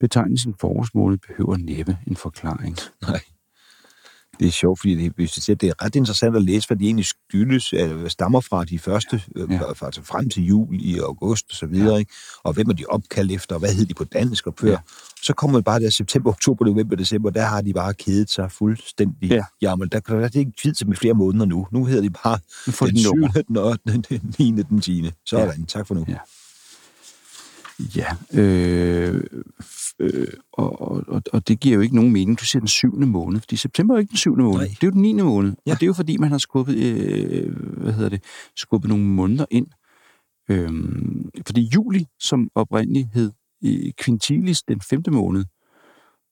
Speaker 2: Betegnelsen forårsmåned behøver næppe en forklaring.
Speaker 3: Nej. Det er sjovt, fordi det, hvis jeg siger, det er ret interessant at læse, hvad de egentlig skyldes, eller stammer fra de første,
Speaker 2: Ja.
Speaker 3: ja. altså frem til jul i august og så videre, ja. ikke? og hvem er de opkaldt efter, og hvad hed de på dansk og før.
Speaker 2: Ja.
Speaker 3: Ja. Så kommer man bare der september, oktober, november, december, der har de bare kedet sig fuldstændig.
Speaker 2: Ja.
Speaker 3: Jamen, der, der, der er det ikke tid til med flere måneder nu. Nu hedder de bare
Speaker 2: Nu får
Speaker 3: den
Speaker 2: de nummer.
Speaker 3: 7., den 8., den 9., den 10. Sådan, ja. tak for nu.
Speaker 2: Ja. Ja, øh, øh, og, og- og, og det giver jo ikke nogen mening. Du siger den syvende måned, fordi september er jo ikke den syvende måned.
Speaker 3: Nej.
Speaker 2: Det er jo den 9. måned, ja.
Speaker 3: Ja.
Speaker 2: og det er jo fordi, man har skubbet, øh, hvad hedder det, skubbet nogle måneder ind. Øhm, fordi juli, som oprindeligt hed øh, Quintilis, den femte måned,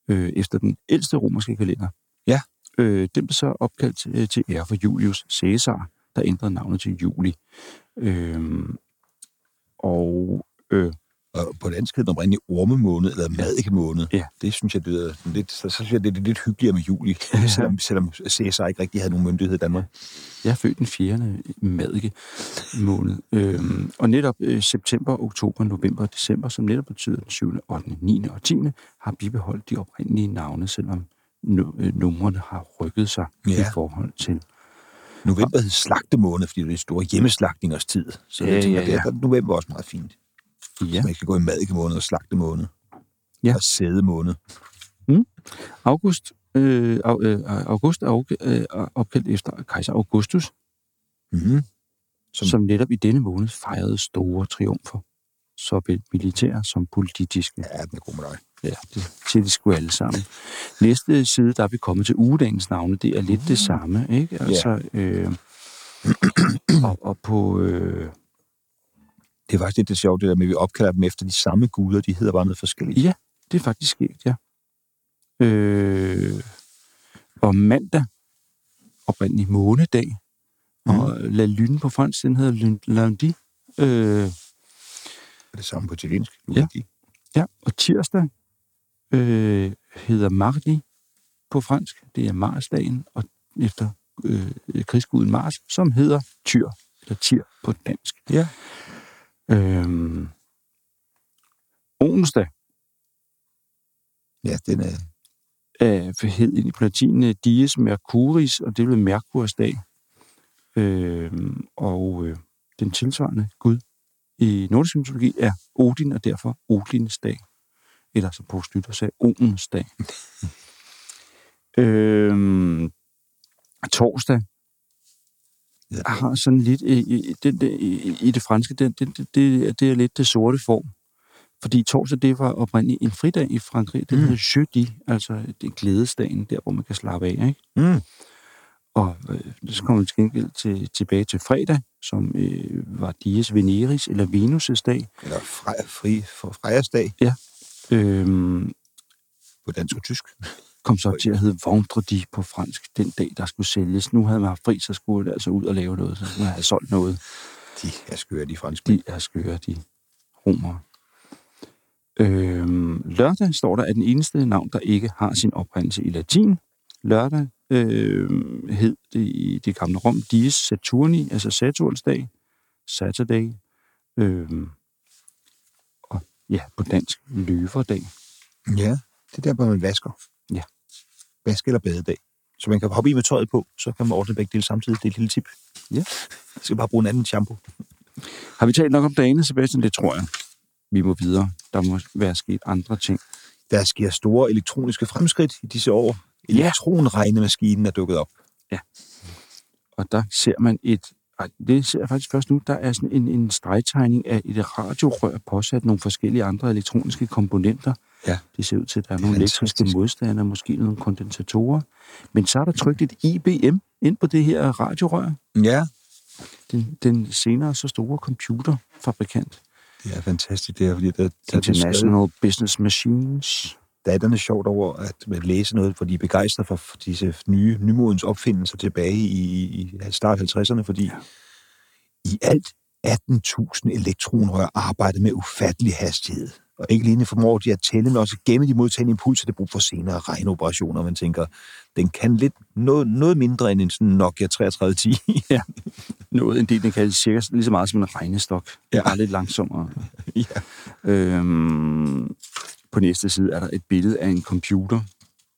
Speaker 2: øh, efter den ældste romerske kalender,
Speaker 3: Ja.
Speaker 2: øh, den blev så opkaldt øh, til ære for Julius Caesar, der ændrede navnet til juli. Øhm, og øh,
Speaker 3: Og på dansk hedder den oprindeligt ormemåned, eller madikemåned.
Speaker 2: Ja.
Speaker 3: Det synes jeg, det er sådan lidt, så, så synes jeg, det er lidt hyggeligere med
Speaker 2: <laughs>
Speaker 3: juli, selvom, selvom CSR ikke rigtig havde nogen myndighed i Danmark.
Speaker 2: Jeg er født den 4. madike måned. Øhm, og netop øh, september, oktober, november og december, som netop betyder den 7., 8., 9. og 10., har bibeholdt de oprindelige navne, selvom nu- øh, numrene har rykket sig ja. i
Speaker 3: Ja.
Speaker 2: forhold til.
Speaker 3: November hed slagtemåned, fordi det er den store hjemmeslagningers tid. Så
Speaker 2: Ja,
Speaker 3: jeg tænker,
Speaker 2: ja,
Speaker 3: ja, ja.
Speaker 2: ja.
Speaker 3: Der er november også meget fint.
Speaker 2: Ja.
Speaker 3: Ja. Man kan gå i madikemåned og slagtemåned.
Speaker 2: Ja.
Speaker 3: Og sædemåned.
Speaker 2: August, øh, au- øh, august er opg- øh, er opkaldt efter kejser Augustus,
Speaker 3: Mm-hmm.
Speaker 2: som,
Speaker 3: Som-
Speaker 2: som netop i denne måned fejrede store triumfer, såvel militære som politiske.
Speaker 3: Ja, den er god med dig.
Speaker 2: Ja, det siger de sgu alle sammen. Næste side, der er vi kommet til ugedagens navne, det er lidt det samme, ikke? Altså, øh, og, og på... Øh,
Speaker 3: Det er faktisk lidt det sjovt, det der med, at vi opkalder dem efter de samme guder. De hedder bare noget forskelligt.
Speaker 2: ja, det er faktisk skægt, ja. Øh, og mandag, oprindelig månedag, og La Lune på fransk, den hedder Lun- Lundi. Øh,
Speaker 3: Det er det samme på italiensk.
Speaker 2: Ja.
Speaker 3: Ja.
Speaker 2: ja, og tirsdag øh, hedder Mardi på fransk. Det er Marsdagen, og efter øh, krigsguden Mars, som hedder Tyr, eller Tyr på dansk.
Speaker 3: Ja.
Speaker 2: Øhm, onsdag
Speaker 3: ja, den er...
Speaker 2: øh, hed i platinen øh, Dies Mercuris, og det blev Merkurs dag. Øhm, og øh, den tilsvarende gud i nordisk mytologi er Odin, og derfor Odins dag. Eller som Poul Slytter sagde, Odens dag. øhm, torsdag
Speaker 3: Ja.
Speaker 2: har sådan lidt, øh, i, det, det, i, i det franske, det, det, det, det, er- det er lidt det sorte form. Fordi torsdag, det var oprindeligt en fridag i Frankrig. Det
Speaker 3: Mm.
Speaker 2: hedder jeudi, altså det er glædesdagen, der hvor man kan slappe af. Ikke?
Speaker 3: Mm.
Speaker 2: Og øh, så kommer vi til gengæld til, tilbage til fredag, som øh, var Dies Veneris, eller Venus' dag.
Speaker 3: Eller fri, fri for frejersdag
Speaker 2: Øhm,
Speaker 3: på dansk og tysk.
Speaker 2: kom så til at hedde Vendredi på fransk, den dag, der skulle sælges. Nu havde man haft fri, så skulle det altså ud og lave noget, så skulle man have solgt noget.
Speaker 3: De er skøre, de franske.
Speaker 2: De er skøre, de romere. Øhm, lørdag står der, at den eneste navn, der ikke har sin oprindelse i latin, lørdag øh, hed det i det gamle Rom Dies Saturni, altså Saturns dag, Saturday, øh, og ja, på dansk løverdag.
Speaker 3: Ja, det er der, hvor man vasker.
Speaker 2: Ja.
Speaker 3: Vask eller badedag. Så man kan hoppe i med tøjet på, så kan man ordne begge dele samtidig. Det er et lille tip.
Speaker 2: Ja.
Speaker 3: Jeg skal bare bruge en anden shampoo.
Speaker 2: Har vi talt nok om dagene, Sebastian? Det tror jeg. Vi må videre. Der må være sket andre ting.
Speaker 3: Der sker store elektroniske fremskridt i disse år.
Speaker 2: Ja.
Speaker 3: Elektronregnemaskinen er dukket op.
Speaker 2: og der ser man et, ej, det ser jeg faktisk først nu, der er sådan en, en stregtegning af et radiorør påsat nogle forskellige andre elektroniske komponenter.
Speaker 3: Ja.
Speaker 2: Det ser ud til, at der er nogle
Speaker 3: Fantastisk.
Speaker 2: elektriske modstandere, måske nogle kondensatorer. Men så er der trykt et IBM ind på det her radiorør,
Speaker 3: Ja,
Speaker 2: den, den senere så store computerfabrikant.
Speaker 3: det er fantastisk det her, fordi der, der, der,
Speaker 2: International Business Machines.
Speaker 3: datterne er sjovt over at man læser noget, for de er begejstrede for for disse nye, nymodens opfindelser tilbage i, i start 50'erne, fordi ja. i alt 18.000 elektronrør arbejder med ufattelig hastighed. Og ikke alene formår de at tælle, men også gemme de modtagende impulser, det er brug for senere regneoperationer. Man tænker, den kan lidt noget, noget mindre end en sådan Nokia 3310.
Speaker 2: <laughs> Noget, en del, den kaldes cirka lige så meget som en regnestok.
Speaker 3: Ja.
Speaker 2: Bare lidt langsommere.
Speaker 3: <laughs> ja.
Speaker 2: Øhm, på næste side er der et billede af en computer,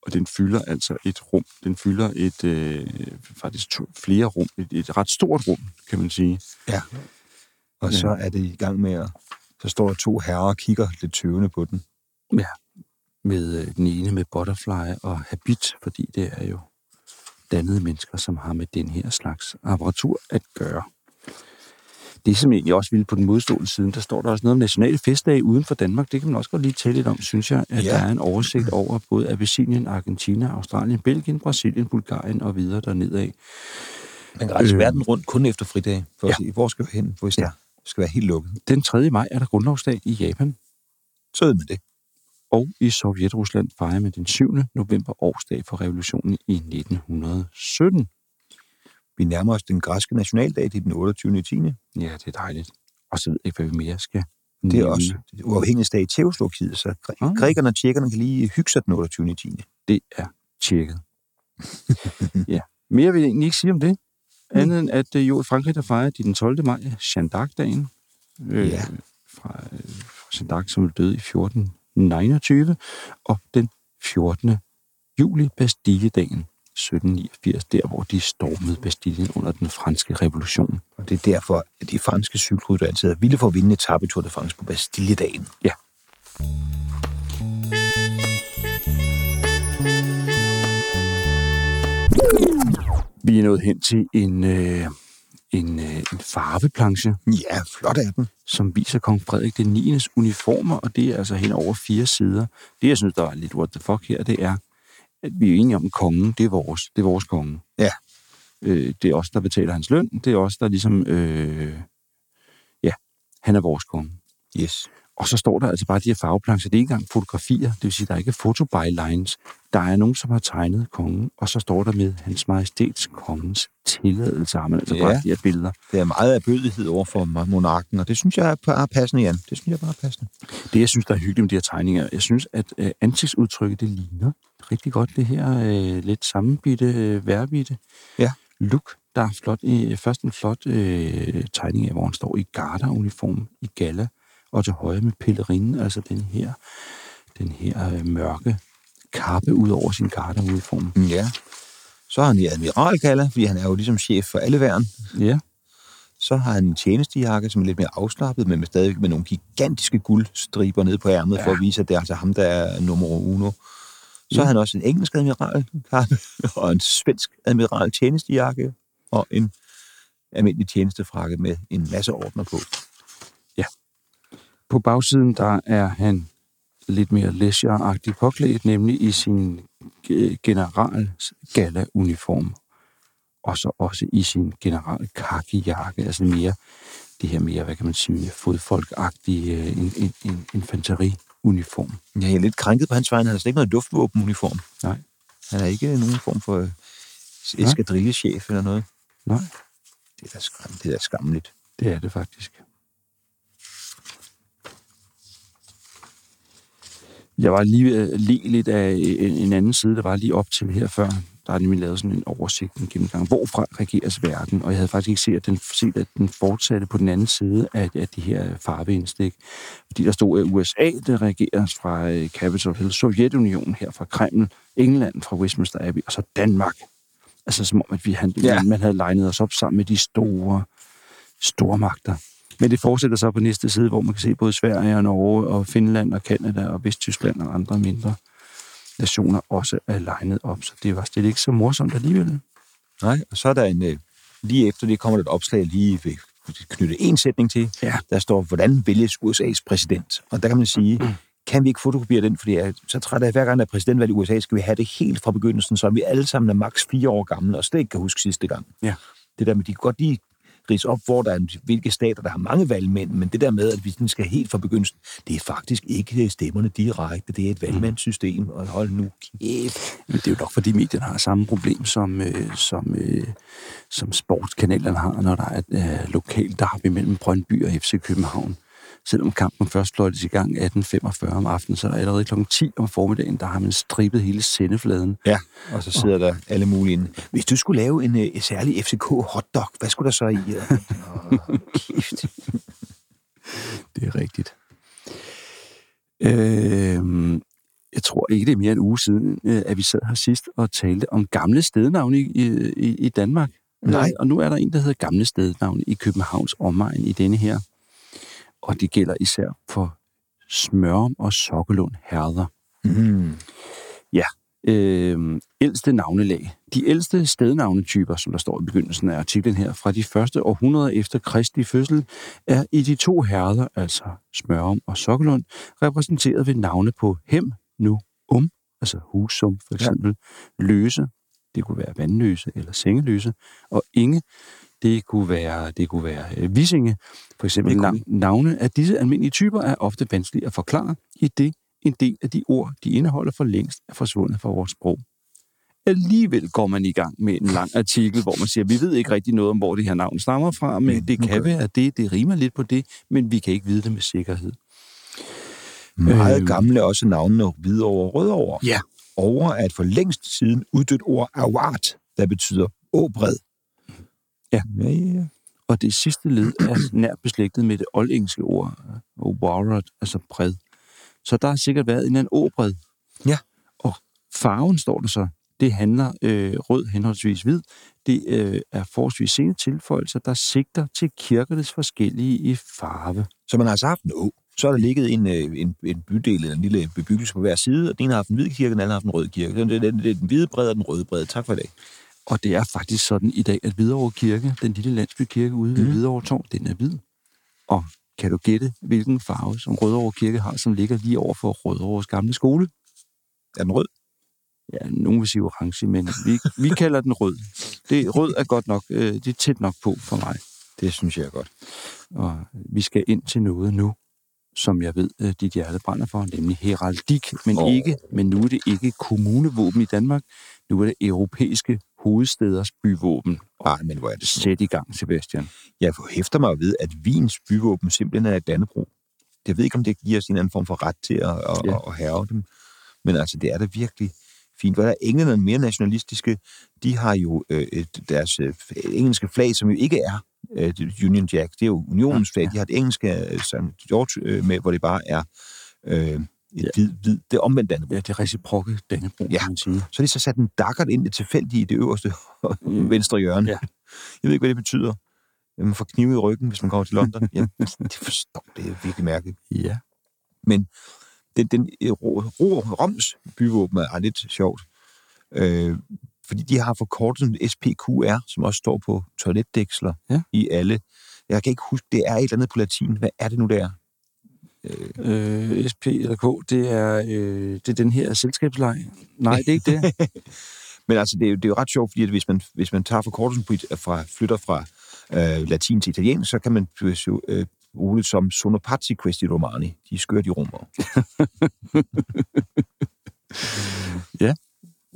Speaker 2: og den fylder altså et rum. Den fylder et øh, faktisk to, flere rum, et, et ret stort rum, kan man sige.
Speaker 3: ja. <laughs> Og så er det i gang med at... Så står der to herrer og kigger lidt tøvende på den.
Speaker 2: Med øh, den ene med butterfly og habit, fordi det er jo dannede mennesker, som har med den her slags apparatur at gøre. Det, som egentlig også ville på den modstående side, der står der også noget om nationale festdage uden for Danmark. Det kan man også godt lige tale lidt om, synes jeg, at
Speaker 3: Ja.
Speaker 2: ja. der er en oversigt over både Abessinien, Argentina, Australien, Belgien, Brasilien, Bulgarien og videre dernedad.
Speaker 3: Man kan rejse
Speaker 2: Øh.
Speaker 3: øh, verden rundt kun efter fridage, for ja.
Speaker 2: Ja.
Speaker 3: at se, hvor skal vi hen, hvis ja.
Speaker 2: Ja.
Speaker 3: der skal være helt lukket.
Speaker 2: Den 3. maj er der grundlovsdag i Japan,
Speaker 3: Så ved man det.
Speaker 2: og i Sovjet-Rusland fejrer man den 7. november årsdag for revolutionen i 1917.
Speaker 3: Vi nærmer os den græske nationaldag, det er den 28. 10.
Speaker 2: Ja, det er dejligt. Og så ved jeg ikke, hvad vi mere skal
Speaker 3: Det er også uafhængig stat i Tjekoslovakiet, så græ-
Speaker 2: Ah.
Speaker 3: grækerne og tjekkerne kan lige hygge sig den 28. 10.
Speaker 2: Det er tjekket. ja. Mere vil jeg egentlig ikke sige om det. Andet end, at øh, jo i Frankrig, der fejrer de den 12. maj Chandac-dagen. Øh,
Speaker 3: Ja.
Speaker 2: Fra øh, fra Chandac, som døde i 1429. Og den 14. juli, Bastille-dagen 1789, der hvor de stormede Bastillen under den franske revolution.
Speaker 3: Og det er derfor, at de franske cykelrytter altid er vilde for at vinde etape i Tour de France på Bastilledagen.
Speaker 2: Vi er nået hen til en, øh, en, øh, en farveplanche,
Speaker 3: Ja, flot af den.
Speaker 2: som viser kong Frederik den 9. uniformer, og det er altså hen over fire sider. Det, jeg synes, der er lidt what the fuck her, det er, at vi er enige om, at kongen, det er vores, det er vores konge.
Speaker 3: Ja.
Speaker 2: Øh, det er os, der betaler hans løn. Det er os, der ligesom... Øh, ja, han er vores konge.
Speaker 3: Yes.
Speaker 2: Og så står der altså bare de her farveplancher. Det er ikke engang fotografier, det vil sige, der er ikke fotobylines. Der er nogen, som har tegnet kongen, og så står der med hans majestæts kongens tilladelse, har man altså ja.
Speaker 3: Ja.
Speaker 2: bare de her billeder.
Speaker 3: Det er meget erbødighed over for monarken, og det synes jeg er bare passende, Jan. Det synes jeg bare er passende.
Speaker 2: Det, jeg synes, der er hyggeligt med de her tegninger, jeg synes, at øh, ansigtsudtrykket, det ligner rigtig godt det her øh, lidt sammenbitte, øh, værbitte
Speaker 3: Ja.
Speaker 2: look. Der er flot, øh, først en flot øh, tegning af, hvor han står i garderuniform i gala, og til højre med pellerinen, altså den her, den her øh, mørke kappe ud over sin garderuniform.
Speaker 3: Ja. Så har han i admiralgalla, fordi han er jo ligesom chef for alle væren.
Speaker 2: Ja,
Speaker 3: Så har han en tjenestejakke, som er lidt mere afslappet, men med stadig med nogle gigantiske guldstriber nede på ærmet, ja. for at vise, at det er altså ham, der er nummer uno. Så
Speaker 2: Ja.
Speaker 3: har han også en engelsk admiralkappe, <laughs> og en svensk admiral tjenestejakke, og en almindelig tjenestefrakke med en masse ordner på.
Speaker 2: på bagsiden, der er han lidt mere leisure-agtigt påklædt, nemlig i sin øh, general-gala-uniform, og så også i sin general kakkejakke, altså mere det her mere, hvad kan man sige, fodfolkagtige øh, en, en, en infanteri-uniform.
Speaker 3: Ja, jeg er lidt krænket på hans vegne. Han har slet ikke noget luftvåbenuniform.
Speaker 2: Nej.
Speaker 3: Han er ikke nogen form for øh, eskadrillechef eller noget.
Speaker 2: Nej,
Speaker 3: Det er da, skam, det er da skammeligt.
Speaker 2: det er det faktisk. Jeg var lige ved at le lidt af en, en anden side, der var lige op til her før. Der er nemlig lavet sådan en oversigt, en gennemgang. Hvorfra regeres verden? Og jeg havde faktisk ikke set, at den, set, at den fortsatte på den anden side af, af det her farveindstik. Fordi der stod, at USA, der regeres fra øh, Capitol Hill, Sovjetunionen her fra Kreml, England fra Westminster Abbey, og så Danmark. Altså som om, at vi, han, ja.
Speaker 3: Ja.
Speaker 2: man havde legnet os op sammen med de store, store magter. Men det fortsætter så på næste side, hvor man kan se både Sverige og Norge og Finland og Kanada og Vesttyskland og andre mindre nationer også er legnet op. Så det var slet ikke så morsomt alligevel.
Speaker 3: Nej, og så er der en... Øh, lige efter det kommer der et opslag, jeg lige vil knytte en sætning til.
Speaker 2: Ja.
Speaker 3: Der står, hvordan vælges USA's præsident? Og der kan man sige, kan vi ikke fotokopiere den? Fordi jeg er så træt af, at hver gang der er præsidentvalg i USA, skal vi have det helt fra begyndelsen, så vi alle sammen er maks fire år gamle, og slet ikke kan huske sidste gang.
Speaker 2: Ja.
Speaker 3: Det der med, de kan godt lige rise op, hvor der er, hvilke stater, der har mange valgmænd, men det der med, at vi sådan skal helt fra begyndelsen, det er faktisk ikke øh, stemmerne direkte, det er et valgmandssystem, og hold nu kæft.
Speaker 2: Men det er jo nok, fordi medierne har samme problem, som, øh, som, øh, som sportskanalerne har, når der er et øh, lokalt derby mellem Brøndby og FC København. Selvom kampen først fløjtes i gang 18.45 om aftenen, så er der allerede kl. 10 om formiddagen, der har man strippet hele sendefladen.
Speaker 3: Ja, og så sidder der alle mulige inde. Hvis du skulle lave en øh, særlig FCK hotdog, hvad skulle der så i? Åh, kæft.
Speaker 2: Det er rigtigt. Øh, jeg tror ikke, det er mere end en uge siden, øh, at vi sad her sidst og talte om gamle stednavne i, i, i- i Danmark.
Speaker 3: Nej.
Speaker 2: Øh, Og nu er der en, der hedder gamle stednavne i Københavns omegn i denne her. Og det gælder især for Smørum og Sokkelund herreder.
Speaker 3: Mm.
Speaker 2: Mm-hmm. Øh, ældste navnelag. De ældste stednavnetyper, som der står i begyndelsen af artiklen her, fra de første århundreder efter Kristi fødsel, er i de to herreder, altså Smørum og Sokkelund, repræsenteret ved navne på Hem, Nu, Um, altså Husum for eksempel, ja. Løse, det kunne være Vandløse eller Sengeløse, og Inge, det kunne være, det kunne være øh, Visinge. For eksempel
Speaker 3: Det kunne
Speaker 2: nav- navne af disse almindelige typer er ofte vanskelige at forklare, i det en del af de ord, de indeholder for længst, er forsvundet fra vores sprog. Alligevel går man i gang med en lang artikel, hvor man siger, vi ved ikke rigtig noget om, hvor det her navn stammer fra, men det kan være det, det rimer lidt på det, men vi kan ikke vide det med sikkerhed.
Speaker 3: Mm. Meget gamle er også navnene Hvidovre og Rødovre.
Speaker 2: Øh. Ja.
Speaker 3: Over er et for længst siden uddødt ord awart, der betyder åbred.
Speaker 2: Ja.
Speaker 3: ja, ja, ja.
Speaker 2: Og det sidste led er nært beslægtet med det oldengelske ord, warrod, altså bred. Så der har sikkert været en eller anden åbred.
Speaker 3: Ja.
Speaker 2: Og farven, står der så, det handler øh, rød henholdsvis hvid. Det øh, er forholdsvis sene tilføjelser, der sigter til kirkernes forskellige i farve.
Speaker 3: Så man har altså haft en å. Så har der ligget en, øh, en, en bydel eller en lille bebyggelse på hver side, og den ene har haft en hvid kirke, den anden har haft en rød kirke. Det, det, det, det er den hvide bred og den røde bred. Tak for i dag.
Speaker 2: Og det er faktisk sådan i dag, at Hvidovre Kirke, den lille landsbykirke ude ved mm. Hvidovre Torv, den er hvid. Og kan du gætte, hvilken farve, som Rødovre Kirke har, som ligger lige over for Rødovres gamle skole?
Speaker 3: Er den rød?
Speaker 2: ja, nogen vil sige orange, men vi, vi kalder den rød. Det, rød er godt nok, øh, det er tæt nok på for mig.
Speaker 3: Det synes jeg er godt.
Speaker 2: Og vi skal ind til noget nu, som jeg ved, øh, dit hjerte brænder for, nemlig heraldik, men,
Speaker 3: Åh.
Speaker 2: oh. ikke, men nu er det ikke kommunevåben i Danmark, nu er det europæiske hovedsteders byvåben.
Speaker 3: Ej, Ah, men hvor er det
Speaker 2: Sæt i gang, Sebastian.
Speaker 3: Jeg hæfter mig ved, at Wiens byvåben simpelthen er et dannebro. Jeg ved ikke, om det giver os en eller anden form for ret til at, at,
Speaker 2: Ja.
Speaker 3: ja. at have dem. Men altså, det er da virkelig fint. Hvor der er englænderne mere nationalistiske, de har jo øh, et, deres øh, engelske flag, som jo ikke er øh, det- Union Jack. Det er jo
Speaker 2: Ah,
Speaker 3: unionens flag. De har et engelske øh, St. George øh, med, hvor det bare er øh, et
Speaker 2: Ja.
Speaker 3: ja. hvid, hvid, det er omvendt dannebro.
Speaker 2: Ja, det er reciprokke Dannebro, ja.
Speaker 3: Ja.
Speaker 2: kan man sige.
Speaker 3: Så har de så sat en dakkert ind det tilfældige i det øverste <laughs>
Speaker 2: Mm.
Speaker 3: venstre hjørne.
Speaker 2: Ja.
Speaker 3: Jeg ved ikke, hvad det betyder. Man får knive i ryggen, hvis man kommer til
Speaker 2: <laughs>
Speaker 3: London. Jamen, det forstår det er virkelig mærkeligt.
Speaker 2: Ja.
Speaker 3: Den, den øh, Ro- Ro- Roms byvåben er lidt sjovt. Øh, fordi de har forkortet SPQR, som også står på toiletdæksler
Speaker 2: Ja.
Speaker 3: i alle. Jeg kan ikke huske, det er et eller andet på latin. Hvad er det nu, der? Øh,
Speaker 2: Øh, SP eller K, det er, øh, det er den her selskabsleg. Nej, det er ikke
Speaker 3: <laughs>
Speaker 2: det.
Speaker 3: Men altså, det er, jo, det er jo ret sjovt, fordi at hvis, man, hvis man tager forkortelsen på, it- fra, flytter fra øh, latin til italiensk, så kan man øh, så, øh, bruge det som sono pazzi questi romani. De er skøre, de romere.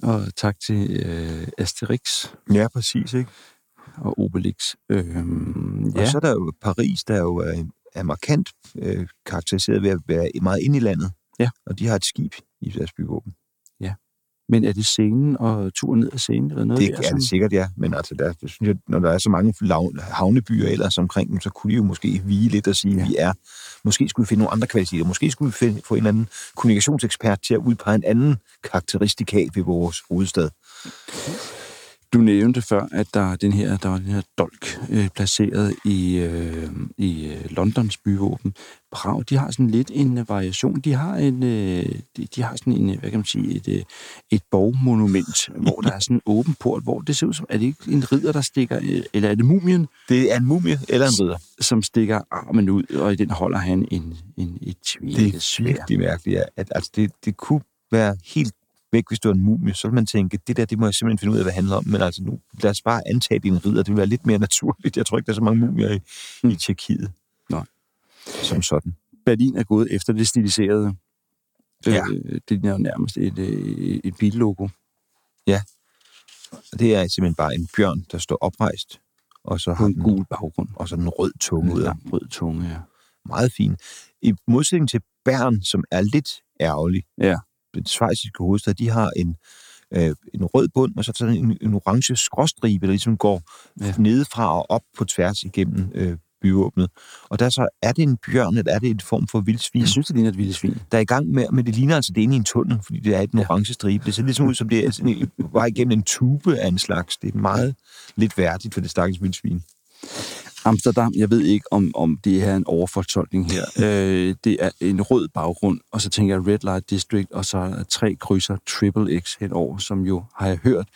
Speaker 2: Og tak til øh, Asterix
Speaker 3: Ja, præcis. Ikke?
Speaker 2: og Obelix. Øhm,
Speaker 3: Ja. Og
Speaker 2: ja,
Speaker 3: så er der jo Paris, der jo er, er markant øh, karakteriseret ved at være meget inde i landet.
Speaker 2: Ja.
Speaker 3: Og de har et skib i deres byvåben.
Speaker 2: men er det scenen og turen ned ad scenen eller noget?
Speaker 3: Det
Speaker 2: der,
Speaker 3: er det sikkert, ja. Men altså, der, jeg synes jeg, når der er så mange lav- havnebyer ellers omkring dem, så kunne de jo måske hvile lidt og sige,
Speaker 2: Ja.
Speaker 3: ja. vi er, måske skulle vi finde nogle andre kvaliteter. Måske skulle vi finde, få en eller anden kommunikationsekspert til at udpege en anden karakteristikat ved vores hovedstad.
Speaker 2: Du nævnte før, at der, er den her, der var den her dolk øh, placeret i, øh, i øh, Londons byvåben. Prag, de har sådan lidt en øh, variation. De har, en, øh, de, de har sådan en, øh, hvad kan man sige, et, øh, et <laughs> borgmonument, hvor der er sådan en åben port, hvor det ser ud som, er det ikke en ridder, der stikker, øh, eller er det mumien,
Speaker 3: Det er en mumie eller en ridder.
Speaker 2: som stikker armen ud, og i den holder han en, en, et tvivl.
Speaker 3: Det er virkelig mærkeligt, ja. At, altså, det, det kunne være helt væk, hvis det var en mumie. Så ville man tænke, det der, det må jeg simpelthen finde ud af, hvad det handler om. Men altså, nu, lad os bare antage, at det er en ridder. Det vil være lidt mere <laughs> naturligt. Jeg tror ikke, der er så mange mumier i, mm. i Tjekkiet.
Speaker 2: Nej.
Speaker 3: Som sådan.
Speaker 2: Berlin er gået efter det stiliserede.
Speaker 3: Ja.
Speaker 2: Øh, det er jo nærmest et, øh, et billogo.
Speaker 3: Og det er simpelthen bare en bjørn, der står oprejst, og så
Speaker 2: På
Speaker 3: har
Speaker 2: en
Speaker 3: den,
Speaker 2: gul baggrund.
Speaker 3: og så den rød tunge
Speaker 2: Med
Speaker 3: ud. af.
Speaker 2: lang rød tunge, Mm-hmm. ja.
Speaker 3: Meget fin. I modsætning til Bern, som er lidt ærgerlig,
Speaker 2: Ja.
Speaker 3: den svejsiske hovedstad, de har en, øh, en rød bund, og så sådan en, en orange skråstribe, der ligesom går
Speaker 2: Ja.
Speaker 3: ja. nedefra og op på tværs igennem øh, byvåbnet. Og der så, er det en bjørn, eller er det en form for vildsvin?
Speaker 2: Jeg synes, det ligner et vildt svin.
Speaker 3: der er i gang med, men det ligner altså, det er inde i en tunnel, fordi det er i den orange stribe. Det ser ligesom ud, som det er sådan en, var igennem en tube af en slags. Det er meget lidt værdigt for det stakkels vildsvin.
Speaker 2: Amsterdam, jeg ved ikke, om, om det her er en overfortolkning her. øh, det er en rød baggrund, og så tænker jeg Red Light District, og så er der tre krydser Triple X henover, som jo, har jeg hørt,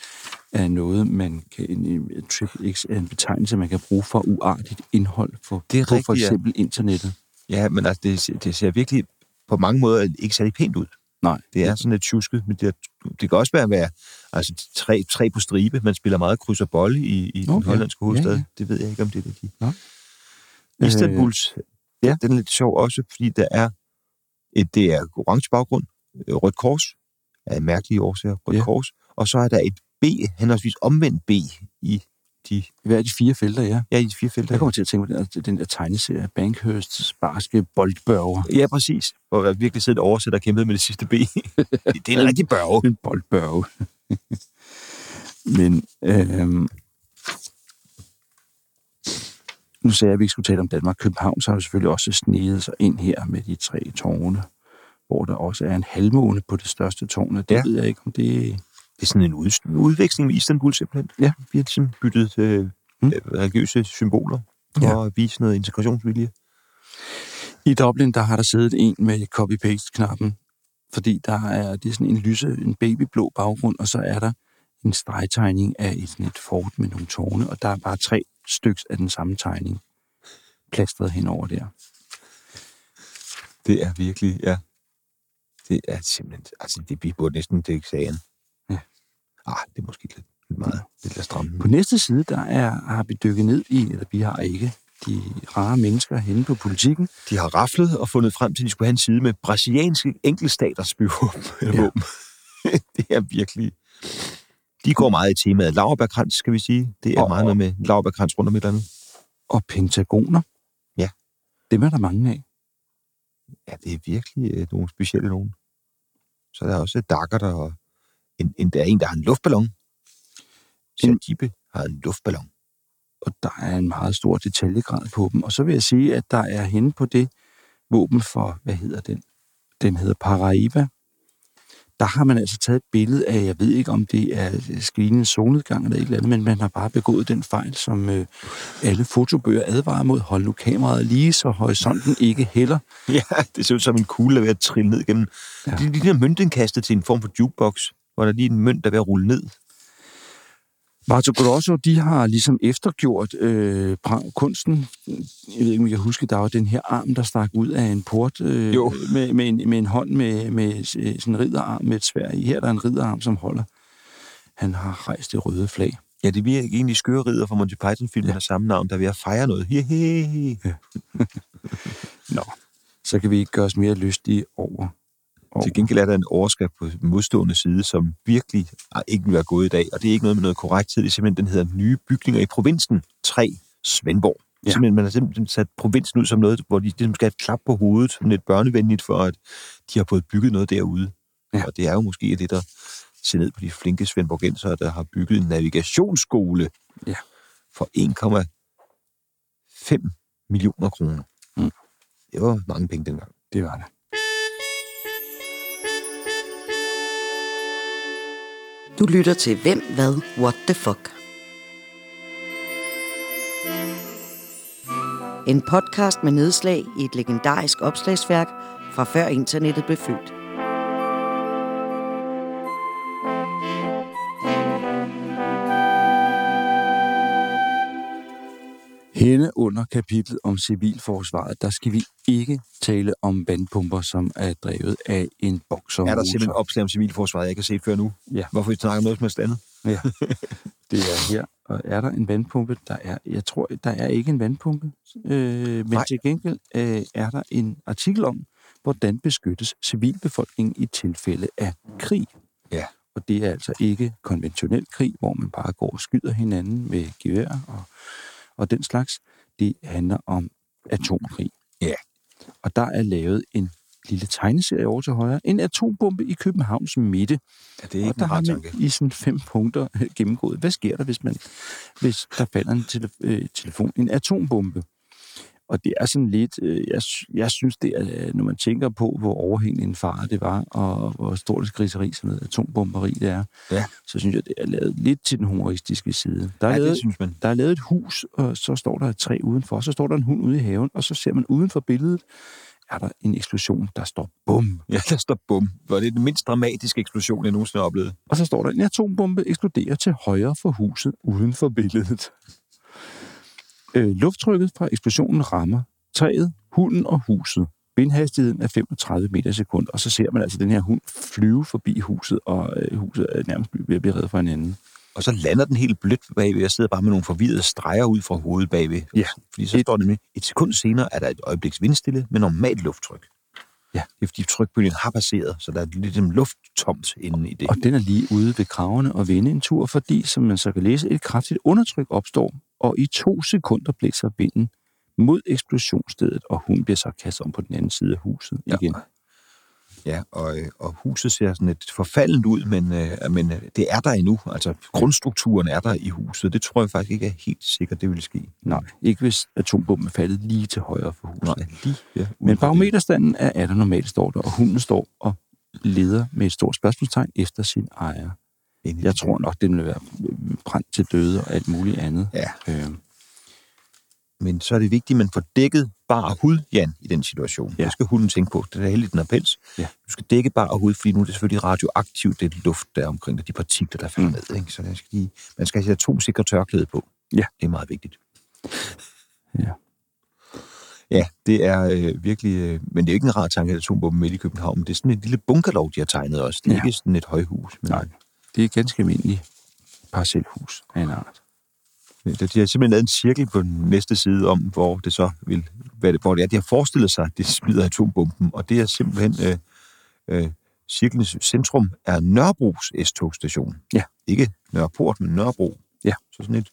Speaker 2: er noget, man kan... En, en, triple X er en betegnelse, man kan bruge for uartigt indhold for,
Speaker 3: Det er
Speaker 2: på for
Speaker 3: rigtigt, ja.
Speaker 2: eksempel internettet.
Speaker 3: Ja, men altså, det, ser- det ser virkelig på mange måder ikke særlig pænt ud.
Speaker 2: Nej.
Speaker 3: Det er sådan lidt tjusket, men det, er, det kan også være, være altså, tre, tre på stribe. Man spiller meget kryds og bolle i, i den
Speaker 2: Okay.
Speaker 3: hollandske hovedstad.
Speaker 2: Ja, ja.
Speaker 3: Ja, ja. Det ved jeg ikke, om det er det. de-
Speaker 2: Nå.
Speaker 3: Istanbuls, øh, ja. den er lidt sjov også, fordi der er et, det er orange baggrund, øh, rødt kors, af mærkelige årsager, rødt
Speaker 2: Ja.
Speaker 3: ja. kors, og så er der et B, henholdsvis omvendt B i de,
Speaker 2: Hvad er de fire felter, ja?
Speaker 3: ja, i de fire felter.
Speaker 2: Jeg kommer til at tænke på den der, den der tegneserie, Bankhursts barske boldbørger.
Speaker 3: Ja, præcis. Hvor jeg virkelig sidder og oversætter og kæmpede med det sidste B. <laughs> det, det er en rigtig børge.
Speaker 2: En boldbørge. Men øhm, nu sagde jeg, at vi ikke skulle tale om Danmark. København så har jo selvfølgelig også sneget sig ind her med de tre tårne, hvor der også er en halvmåne på det største tårn, og det ja.
Speaker 3: Ja.
Speaker 2: ved jeg ikke, om det er...
Speaker 3: Det er sådan en ud, en udveksling med Istanbul simpelthen.
Speaker 2: Ja.
Speaker 3: Vi har ligesom byttet øh,
Speaker 2: Mm.
Speaker 3: mm. religiøse symboler
Speaker 2: Ja.
Speaker 3: for at vise noget integrationsvilje.
Speaker 2: I Dublin, der har der siddet en med copy-paste-knappen, fordi der er, det er sådan en lyse, en babyblå baggrund, og så er der en stregtegning af et, sådan et fort med nogle tårne, og der er bare tre styks af den samme tegning plastret henover der.
Speaker 3: Det er virkelig, ja. Det er simpelthen, altså det, vi burde næsten til eksamen.
Speaker 2: Ja.
Speaker 3: Ah, det er måske lidt, lidt meget, lidt at stramme.
Speaker 2: På næste side, der er, har vi dykket ned i, eller vi har ikke, de rare mennesker henne på politikken.
Speaker 3: De har raflet og fundet frem til, at de skulle have en side med brasilianske enkeltstaters byvåben. <laughs>
Speaker 2: Ja.
Speaker 3: Ja. det er virkelig... De går meget i temaet Lauerbergrans, skal vi sige. Det er
Speaker 2: Og-
Speaker 3: og, meget noget med Lauerbergrans rundt om et eller andet.
Speaker 2: Og pentagoner.
Speaker 3: Ja.
Speaker 2: Dem er der mange af.
Speaker 3: Ja, det er virkelig øh, nogle specielle nogen. Så er der også dakker der, og en, en, der er en, der har en luftballon.
Speaker 2: En-
Speaker 3: Sergipe har en luftballon.
Speaker 2: og der er en meget stor detaljegrad på dem. Og så vil jeg sige, at der er henne på det våben for, hvad hedder den? Den hedder Paraiba. Der har man altså taget et billede af, jeg ved ikke om det er skrigende solnedgang eller et eller andet, men man har bare begået den fejl, som øh, alle fotobøger advarer mod. Hold nu kameraet lige, så horisonten ikke hælder.
Speaker 3: Ja, det ser ud som en kugle, der er ved at trille ned gennem.
Speaker 2: Ja.
Speaker 3: Ja. Det ligner møntindkastet til en form for jukebox, hvor der er lige en mønt, der er ved at rulle ned.
Speaker 2: Barto Grosso, de har ligesom eftergjort øh, pra- kunsten. Jeg ved ikke, om I kan huske, der var den her arm, der stak ud af en port øh,
Speaker 3: Jo.
Speaker 2: Med, med, en, med en hånd med, med s- øh, sådan en ridderarm med et svær i. Her er der en ridderarm, som holder. Han har rejst det røde flag.
Speaker 3: Ja, det virker egentlig skøre ridder fra Monty Python-filmen ja. af samme navn, der er ved at fejre noget. Hehehe.
Speaker 2: Nå. Så kan vi ikke gøre os mere lystige over. over.
Speaker 3: Til gengæld er der en overskrift på modstående side, som virkelig ah, ikke vil være gået i dag, og det er ikke noget med noget korrekthed, det er simpelthen, den hedder Nye bygninger i provinsen 3, Svendborg.
Speaker 2: Ja.
Speaker 3: Ja. Simpelthen, man har simpelthen sat provinsen ud som noget, hvor de ligesom skal have et klap på hovedet, sådan lidt børnevenligt, for at de har fået bygget noget derude.
Speaker 2: Ja.
Speaker 3: Ja. Og det er jo måske det, der ser ned på de flinke svendborgensere, der har bygget en navigationsskole
Speaker 2: Ja.
Speaker 3: for 1,5 millioner kroner.
Speaker 2: Mm.
Speaker 3: Det var mange penge dengang.
Speaker 2: Det var det.
Speaker 1: Du lytter til Hvem, Hvad, What the Fuck. En podcast med nedslag i et legendarisk opslagsværk fra før internettet blev født.
Speaker 2: Henne under kapitlet om civilforsvaret, der skal vi ikke tale om vandpumper, som er drevet af en boksermotor.
Speaker 3: Er der simpelthen opslag om civilforsvaret, jeg ikke har set før nu?
Speaker 2: Ja.
Speaker 3: Hvorfor vi snakker om noget som helst andet?
Speaker 2: Ja, <laughs> det er her. Og er der en vandpumpe? Der er, jeg tror, der er ikke en vandpumpe. Øh, men Nej.
Speaker 3: Nej.
Speaker 2: til gengæld øh, er der en artikel om, hvordan beskyttes civilbefolkningen i tilfælde af krig.
Speaker 3: Ja.
Speaker 2: Og det er altså ikke konventionel krig, hvor man bare går og skyder hinanden med gevær og, og den slags. Det handler om atomkrig.
Speaker 3: Ja.
Speaker 2: Og der er lavet en lille tegneserie over til højre. En atombombe i Københavns midte.
Speaker 3: Ja, det er
Speaker 2: Og
Speaker 3: ikke
Speaker 2: der
Speaker 3: en
Speaker 2: har
Speaker 3: rar
Speaker 2: man
Speaker 3: tanke.
Speaker 2: i sådan fem punkter øh, gennemgået, hvad sker der, hvis, man, hvis der falder en tele, øh, telefon, en atombombe? Og det er sådan lidt, øh, jeg, sy- jeg synes det er, øh, når man tænker på, hvor overhængende en fare det var, og hvor stort et griseri sådan noget atombomberi det er,
Speaker 3: Ja.
Speaker 2: så synes jeg, det er lavet lidt til den humoristiske side. Der er,
Speaker 3: Ja,
Speaker 2: lavet,
Speaker 3: det synes man. <laughs>
Speaker 2: der er lavet et hus, og så står der et træ udenfor, så står der en hund ude i haven, og så ser man uden for billedet, er der en eksplosion, der står bum.
Speaker 3: Ja, der står bum. Hvor det er den mindst dramatiske eksplosion, jeg nogensinde har oplevet.
Speaker 2: Og så står der, en atombombe eksploderer til højre for huset uden for billedet. Øh, lufttrykket fra eksplosionen rammer træet, hunden og huset. Vindhastigheden er 35 meter i sekund, og så ser man altså den her hund flyve forbi huset, og øh, huset er nærmest ved at blive reddet fra hinanden.
Speaker 3: Og så lander den helt blødt bagved. Jeg sidder bare med nogle forvirrede streger ud fra hovedet bagved.
Speaker 2: Ja.
Speaker 3: Fordi så
Speaker 2: Et-
Speaker 3: står det nemlig, et sekund senere er der et øjebliks vindstille med normalt lufttryk.
Speaker 2: Ja.
Speaker 3: Det er fordi trykbølgen har passeret, så der er lidt en lufttomt inde i det.
Speaker 2: Og den er lige ude ved kravene og vende en tur, fordi, som man så kan læse, et kraftigt undertryk opstår, og i to sekunder blæser vinden mod eksplosionsstedet, og hun bliver så kastet om på den anden side af huset
Speaker 3: Ja.
Speaker 2: igen.
Speaker 3: Ja, og, øh, og huset ser sådan lidt forfaldent ud, men, øh, men øh, det er der endnu. Altså, grundstrukturen er der i huset. Det tror jeg faktisk ikke er helt sikkert, det vil ske.
Speaker 2: Nej, ikke hvis atombomben er faldet lige til højre for huset.
Speaker 3: Nej, lige ja,
Speaker 2: Men barometerstanden er 18 normalt, står der, og hunden står og leder med et stort spørgsmålstegn efter sin ejer. Jeg tror nok, den vil være brændt til døde og alt muligt andet.
Speaker 3: Ja,
Speaker 2: Øh,
Speaker 3: men så er det vigtigt, at man får dækket bar hud, Jan, i den situation.
Speaker 2: Ja.
Speaker 3: Ja. Det skal hunden tænke på. Det er da heldigt, den har pels.
Speaker 2: Ja.
Speaker 3: Du skal dække bar hud, fordi nu er det selvfølgelig radioaktivt, det luft, der er omkring dig, de partikler, der falder
Speaker 2: Mm.
Speaker 3: mm. ned. Ikke? Så der skal de, man skal have atomsikre tørklæde på.
Speaker 2: Ja.
Speaker 3: Det er meget vigtigt.
Speaker 2: Ja.
Speaker 3: Ja, det er øh, virkelig... Øh, men det er jo ikke en rar tanke, at atombomben midt i København. Men det er sådan et lille bunkerlov, de har tegnet også. Det er
Speaker 2: Ja.
Speaker 3: ja. ikke sådan et højhus. Men,
Speaker 2: nej, det er et ganske almindeligt parcelhus af en art.
Speaker 3: Men det- Øh, De har simpelthen lavet en cirkel på den næste side om, hvor det så vil, hvad det, hvor det er. De har forestillet sig, at det smider atombomben, og det er simpelthen øh, øh, cirklens centrum er Nørrebros S-togstation.
Speaker 2: Ja.
Speaker 3: Ikke Nørreport, men Nørrebro.
Speaker 2: Ja.
Speaker 3: Så sådan et,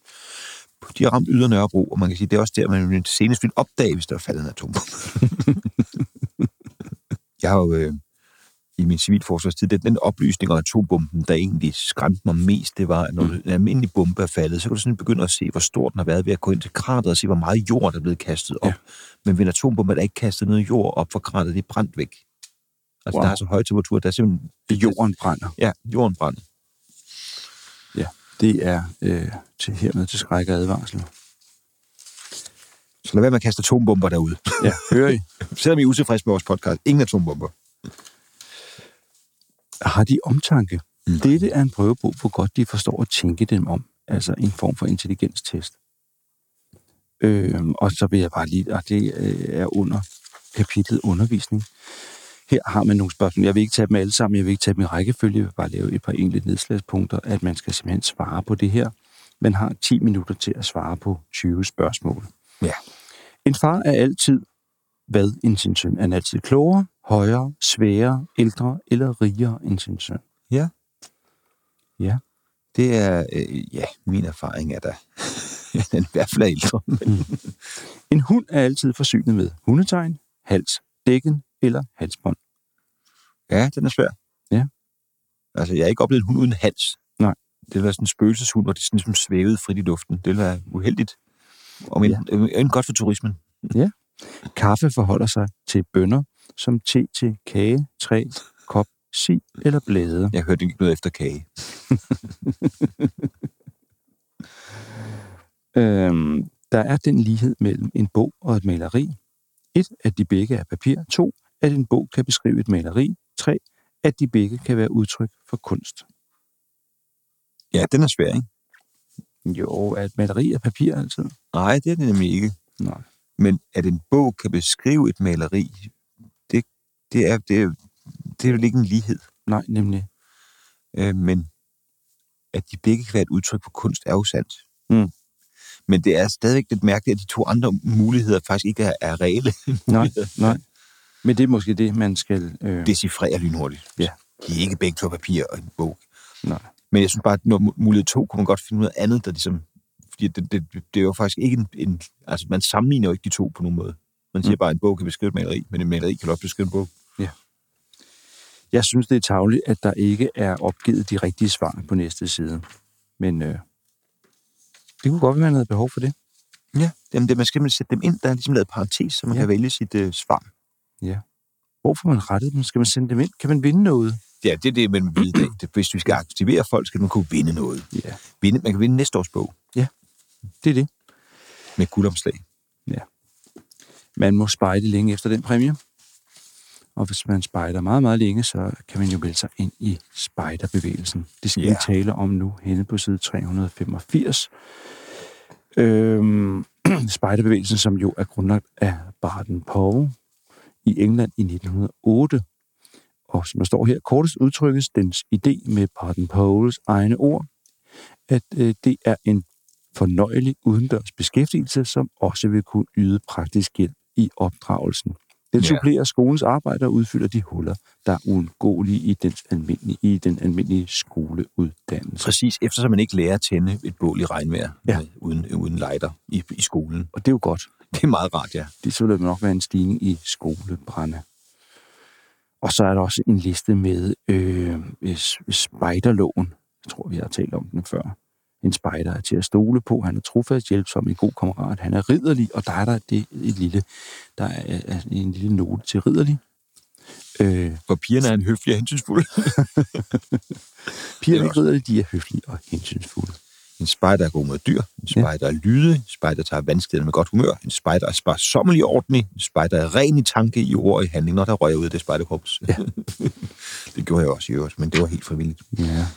Speaker 3: de har ramt yder Nørrebro, og man kan sige, det er også der, man ville senest ville opdage, hvis der var faldet
Speaker 2: <laughs>
Speaker 3: en atombombe. Jeg har jo øh, i min civilforsvarstid, den, den oplysning om atombomben, der egentlig skræmte mig mest, det var, at
Speaker 2: Mm.
Speaker 3: når en almindelig bombe er faldet, så kan du sådan begynde at se, hvor stor den har været ved at gå ind til krateret og se, hvor meget jord, der er blevet kastet op.
Speaker 2: Ja.
Speaker 3: Ja. Men ved en atombombe er der ikke kastet noget jord op, for krateret det er brændt væk. Altså,
Speaker 2: Wow.
Speaker 3: wow. der er så høj temperatur, der er simpelthen...
Speaker 2: Jorden brænder.
Speaker 3: Ja, jorden brænder.
Speaker 2: Det er øh, til hermed til skræk og advarsel.
Speaker 3: Så lad være med at kaste atombomber derude.
Speaker 2: Ja, hører I?
Speaker 3: Selvom I er utilfredse med vores podcast, ingen atombomber.
Speaker 2: Har de omtanke?
Speaker 3: Mm.
Speaker 2: Dette er en prøvebog, hvor godt de forstår at tænke dem om. Altså en form for intelligenstest. Øhm, og så vil jeg bare lige, og det øh, er under kapitlet undervisning. Her har man nogle spørgsmål. Jeg vil ikke tage dem alle sammen, jeg vil ikke tage dem i rækkefølge, jeg vil bare lave et par enkelte nedslagspunkter, at man skal simpelthen svare på det her. Man har 10 minutter til at svare på 20 spørgsmål.
Speaker 3: Ja.
Speaker 2: En far er altid hvad end sin søn. Han er altid klogere, højere, sværere, ældre eller rigere end sin søn.
Speaker 3: Det er, øh, ja, min erfaring er da, <laughs> den er i hvert fald er ældre.
Speaker 2: En hund er altid forsynet med hundetegn, hals, dækken eller halsbånd.
Speaker 3: Ja, den er svær.
Speaker 2: Ja.
Speaker 3: Altså, jeg har ikke oplevet en hund uden hals.
Speaker 2: Nej.
Speaker 3: Det ville være sådan en spøgelseshund, hvor det sådan ligesom svævede frit i luften. Det ville være uheldigt. Og men, ja. øh, godt for turismen.
Speaker 2: Kaffe forholder sig til bønder, som te til kage, træ, kop, si eller blade.
Speaker 3: Jeg hørte ikke noget efter kage.
Speaker 2: Øhm, der er den lighed mellem en bog og et maleri. Et, at de begge er papir. To, at en bog kan beskrive et maleri. Tre, at de begge kan være udtryk for kunst.
Speaker 3: Ja, den er svær, ikke?
Speaker 2: Jo, er et maleri af papir altid?
Speaker 3: Nej, det er det nemlig ikke.
Speaker 2: Nej.
Speaker 3: Men at en bog kan beskrive et maleri, det, det, er, det, er, det er vel ikke en lighed.
Speaker 2: Nej, nemlig.
Speaker 3: Øh, men at de begge kan være et udtryk for kunst, er jo sandt.
Speaker 2: Mm.
Speaker 3: Men det er stadigvæk lidt mærkeligt, at de to andre muligheder faktisk ikke er, er reelle. <laughs>
Speaker 2: Nej, nej. Men det er måske det, man skal... Øh,
Speaker 3: decifrere lynhurtigt.
Speaker 2: Ja.
Speaker 3: De er ikke begge to af papir og en bog.
Speaker 2: Nej.
Speaker 3: Men jeg synes bare, at når mu- mulighed to, kunne man godt finde noget andet, der ligesom... Fordi det, det, det er jo faktisk ikke en, en... Altså, man sammenligner jo ikke de to på nogen måde. Man siger
Speaker 2: Mm.
Speaker 3: mm. bare, at en bog kan beskrive et maleri, men en maleri kan godt beskrive en bog.
Speaker 2: Jeg synes, det er tavligt, at der ikke er opgivet de rigtige svar på næste side. Men øh, det kunne godt være, man havde behov for det.
Speaker 3: Ja. Jamen, det, man skal simpelthen sætte dem ind. Der er ligesom lavet parentes, så man
Speaker 2: Ja.
Speaker 3: ja. kan vælge sit øh, svar.
Speaker 2: Hvor får man rettet dem? Skal man sende dem ind? Kan man vinde noget?
Speaker 3: Ja, det er det, man vil vide i dag. Det- Hvis vi skal aktivere folk, skal man kunne vinde noget.
Speaker 2: Ja,
Speaker 3: Vinde, man kan vinde næste års bog
Speaker 2: det er det.
Speaker 3: med guldomslag.
Speaker 2: Man må spejde længe efter den præmie. Og hvis man spejder meget, meget længe, så kan man jo melde sig ind i spejderbevægelsen. Det skal
Speaker 3: Ja.
Speaker 2: vi tale om nu, henne på side 385. Øhm, <clears throat> spejderbevægelsen, som jo er grundlagt af Barton Powell i England i 1908. Og som der står her, kortest udtrykkes dens idé med Barton Powells egne ord, at øh, det er en fornøjelig udendørs beskæftigelse, som også vil kunne yde praktisk hjælp i opdragelsen Den
Speaker 3: Ja.
Speaker 2: supplerer skolens arbejde og udfylder de huller, der er uundgåelige i, dens almindelige, i den almindelige skoleuddannelse.
Speaker 3: Præcis, eftersom man ikke lærer at tænde et bål i regnvejr
Speaker 2: Ja.
Speaker 3: ja. øh, uden, øh, uden lighter i, i skolen.
Speaker 2: Og det er jo godt.
Speaker 3: Det er meget rart, ja.
Speaker 2: Det så vil der nok være en stigning i skolebrænde. Og så er der også en liste med øh, s- spejderloven. Jeg tror, vi har talt om den før. En spejder er til at stole på. Han er trofast hjælpsom, en god kammerat. Han er ridderlig, og der er der det, et lille, der er, er en lille note til ridderlig. Øh,
Speaker 3: For pigerne er en høflig og hensynsfuld.
Speaker 2: piger er
Speaker 3: Det er
Speaker 2: ikke ridderlige, de er høflige og hensynsfulde.
Speaker 3: En spejder er god mod dyr. En spejder er lydig. En spejder tager vanskeligheder med godt humør. En spejder er sparsommelig i ordentlig. En spejder er ren i tanke, i ord og i handling, når der røg ud af det spejderkorps. Ja. <laughs> det gjorde jeg også i øvrigt, men det var helt frivilligt.
Speaker 2: Ja.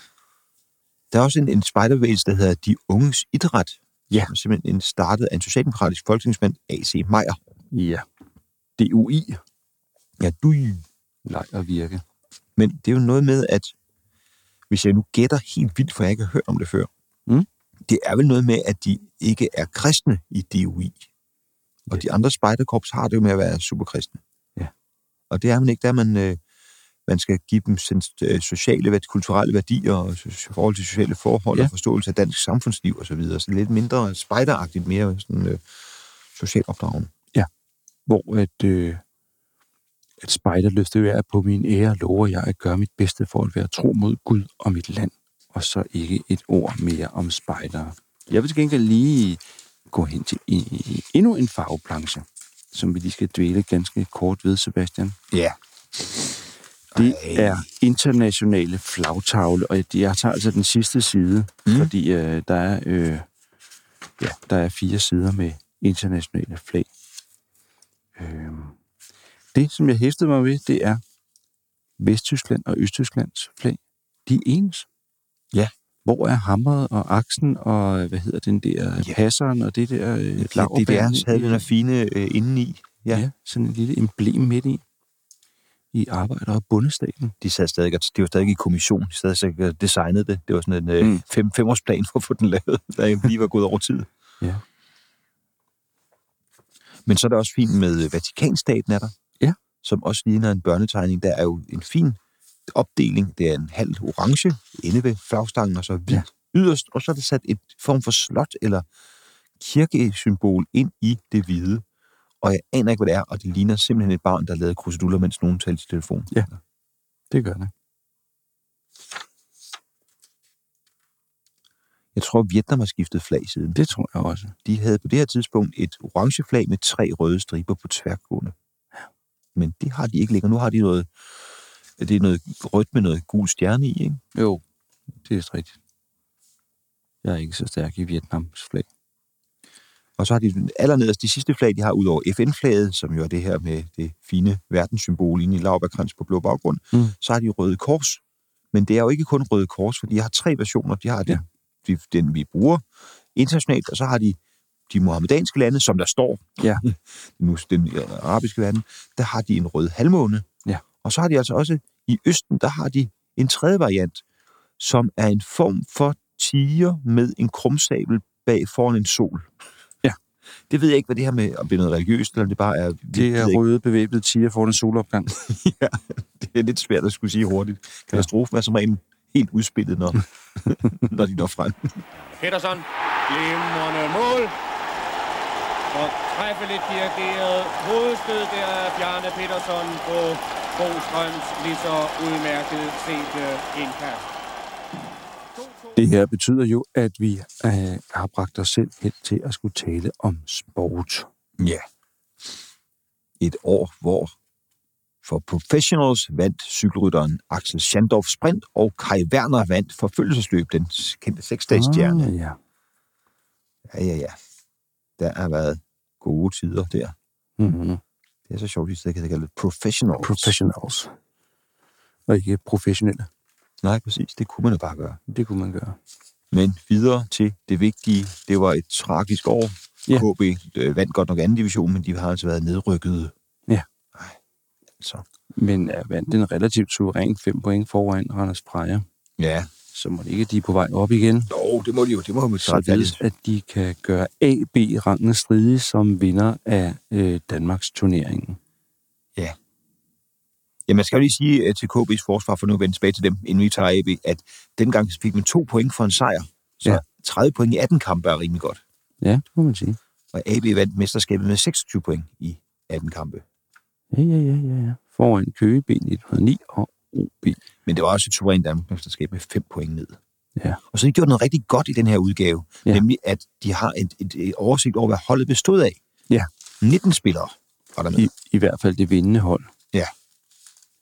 Speaker 3: Der er også en, en spejderbevægelse, der hedder De Unges Idræt.
Speaker 2: Ja.
Speaker 3: Som simpelthen en startet af en socialdemokratisk folketingsmand, A.C. Meyer.
Speaker 2: Ja. DUI.
Speaker 3: Ja, du
Speaker 2: Leg og virke.
Speaker 3: Men det er jo noget med, at hvis jeg nu gætter helt vildt, for jeg ikke har hørt om det før,
Speaker 2: Mm.
Speaker 3: det er vel noget med, at de ikke er kristne i DOI. Og de andre spejderkorps har det jo med at være superkristne.
Speaker 2: Ja.
Speaker 3: Og det er man ikke, der man, øh, man skal give dem sens- øh, sociale, værdi- kulturelle værdier og so- so- forhold til sociale forhold
Speaker 2: Ja.
Speaker 3: ja. og forståelse af dansk samfundsliv osv. Så, videre. så det er lidt mindre spejderagtigt, mere sådan øh, socialt opdragende.
Speaker 2: hvor at, øh, at spejderløftet jo er på min ære, lover jeg at gøre mit bedste for at være tro mod Gud og mit land, og så ikke et ord mere om spejdere. Jeg vil til gengæld lige gå hen til en, endnu en farveplanche, som vi lige skal dvæle ganske kort ved, Sebastian.
Speaker 3: Ja.
Speaker 2: Det
Speaker 3: Ej.
Speaker 2: er internationale flagtavle, og jeg tager altså den sidste side, mm. fordi øh, der, er, øh, ja, der er fire sider med internationale flag. Øh, det, som jeg hæftede mig ved, det er Vesttyskland og Østtysklands flag. De er ens.
Speaker 3: Ja.
Speaker 2: Hvor er hammeret og aksen og, øh, hvad hedder den der,
Speaker 3: Ja.
Speaker 2: passeren og det der... Øh,
Speaker 3: DDR
Speaker 2: laurbærne
Speaker 3: havde
Speaker 2: i-
Speaker 3: den her fine øh, indeni.
Speaker 2: Ja.
Speaker 3: Ja.
Speaker 2: ja, sådan et lille emblem midt i. I arbejder og bundestaten.
Speaker 3: de sad stadig, og- de var stadig i kommission, de sad stadig og designede det. Det var sådan en
Speaker 2: Mm.
Speaker 3: mm. fem, femårsplan for at få den lavet, <laughs> der ikke lige var gået over tid.
Speaker 2: Ja.
Speaker 3: Men så er det også fint med øh, Vatikanstaten er der,
Speaker 2: Ja.
Speaker 3: som også ligner en børnetegning. Der er jo en fin opdeling. Det er en halv orange inde ved flagstangen, og så hvid
Speaker 2: Ja.
Speaker 3: ja. yderst, og så er der sat et form for slot eller kirkesymbol ind i det hvide. Og jeg aner ikke, hvad det er, og det ligner simpelthen et barn, der lavede kruseduller, mens nogen talte i telefon.
Speaker 2: Det gør det.
Speaker 3: Jeg tror, Vietnam har skiftet flag siden.
Speaker 2: Det tror jeg også.
Speaker 3: de havde på det her tidspunkt et orange flag med tre røde striber på tværgående. Men det har de ikke længere. Nu har de noget, det er noget rødt med noget gul stjerne i, ikke?
Speaker 2: Jo, det er vist rigtigt. Jeg er ikke så stærk i Vietnams flag.
Speaker 3: Og så har de den allernederst, de sidste flag, de har ud over FN-flaget, som jo er det her med det fine verdenssymbol inde i Lauberkrans på blå baggrund,
Speaker 2: Mm.
Speaker 3: mm. så har de røde kors. Men det er jo ikke kun røde kors, for de har tre versioner. De har
Speaker 2: Ja.
Speaker 3: den, de, den vi bruger internationalt, og så har de de muhammedanske lande, som der står,
Speaker 2: Ja.
Speaker 3: <laughs> nu den øh, arabiske verden, der har de en rød halvmåne.
Speaker 2: Ja.
Speaker 3: Og så har de altså også i Østen, der har de en tredje variant, som er en form for tiger med en krumsabel bag foran en sol.
Speaker 2: Ja.
Speaker 3: Det ved jeg ikke, hvad det her med, om det er noget religiøst, eller om det bare er...
Speaker 2: Det
Speaker 3: ved jeg
Speaker 2: er
Speaker 3: ikke.
Speaker 2: røde bevæbnede tiger foran en solopgang.
Speaker 3: <laughs> det er lidt svært at skulle sige hurtigt. Katastrofen er som regel helt udspillet, når, når de når frem.
Speaker 4: Petersen. Glimrende mål. Og træffeligt dirigeret hovedstød der af Bjarne Petersen på Bostrøms lige så udmærket set øh, indkast.
Speaker 2: Det her betyder jo, at vi øh, har bragt os selv hen til at skulle tale om sport.
Speaker 3: Ja. Et år, hvor for professionals vandt cykelrytteren Axel Schandorf sprint, og Kai Werner vandt forfølgelsesløb, den kendte seksdagsstjerne.
Speaker 2: Ah, ja.
Speaker 3: Ja, ja, ja. Der har været gode tider der.
Speaker 2: Mm-hmm.
Speaker 3: Det er så sjovt, at de stadig kan kalde det professionals.
Speaker 2: Professionals. Og ikke professionelle.
Speaker 3: Nej, præcis. Det kunne man jo bare gøre.
Speaker 2: Det kunne man gøre.
Speaker 3: Men videre til det vigtige. Det var et tragisk år.
Speaker 2: Ja.
Speaker 3: Ja. KB øh, vandt godt nok anden division, men de har altså været nedrykket.
Speaker 2: Ja.
Speaker 3: Ej, altså.
Speaker 2: Men er vandt den relativt suveræn 5 point foran Randers Freja,
Speaker 3: Ja.
Speaker 2: så må det ikke, at de er på vej op igen.
Speaker 3: Jo, det må de jo. Det må man
Speaker 2: således at de kan gøre AB-rangen stridig som vinder af øh, Danmarks turneringen.
Speaker 3: Jamen, jeg skal jo lige sige øh, til KB's forsvar, for nu at vende tilbage til dem, inden vi tager AB, at dengang fik man to point for en sejr. Så
Speaker 2: Ja.
Speaker 3: ja. 30 point i 18 kampe er rimelig godt.
Speaker 2: Ja, det må man sige.
Speaker 3: Og AB vandt mesterskabet med 26 point i 18 kampe.
Speaker 2: Ja, ja, ja, ja. ja. Foran Køge B1909 og OB.
Speaker 3: Men det var også et suverænt Danmarksmesterskab med 5 point ned.
Speaker 2: Ja.
Speaker 3: Og så har de gjort noget rigtig godt i den her udgave,
Speaker 2: Ja.
Speaker 3: ja. nemlig at de har et, et, et oversigt over, hvad holdet bestod af.
Speaker 2: Ja.
Speaker 3: 19 spillere var der med.
Speaker 2: I, I hvert fald det vindende hold.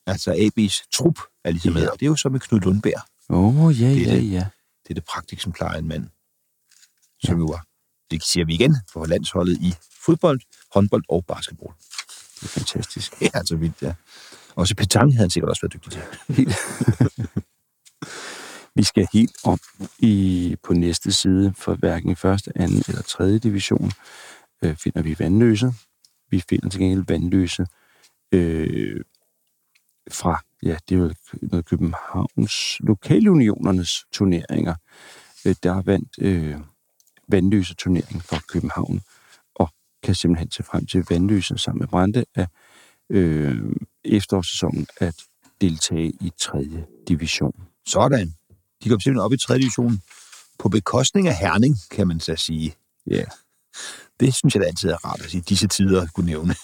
Speaker 3: Altså AB's trup er ligesom
Speaker 2: Ja.
Speaker 3: med, og det er jo så med Knud Lundberg.
Speaker 2: Åh, oh, ja,
Speaker 3: Det er
Speaker 2: ja,
Speaker 3: det.
Speaker 2: ja.
Speaker 3: Det er det praktiksemplar af en mand, som jo var, det siger vi igen, for landsholdet i fodbold, håndbold og basketball. <laughs>
Speaker 2: Det er fantastisk.
Speaker 3: Det er altså vildt, ja. Også petang havde han sikkert også været dygtig til.
Speaker 2: Helt. Vi skal helt op i, på næste side, for hverken i første, anden eller tredje division øh, finder vi vandløse. Vi finder til gengæld vandløse øh, fra, ja, det er jo noget Københavns lokalunionernes turneringer. Øh, der vandt øh, vandløse turnering for København, og kan simpelthen se frem til vandløse sammen med Brande af øh, efterårssæsonen at deltage i 3. division.
Speaker 3: Sådan. De kom simpelthen op i 3. division på bekostning af Herning, kan man så sige.
Speaker 2: Ja.
Speaker 3: Det synes jeg da altid er rart at sige, disse tider at kunne nævne.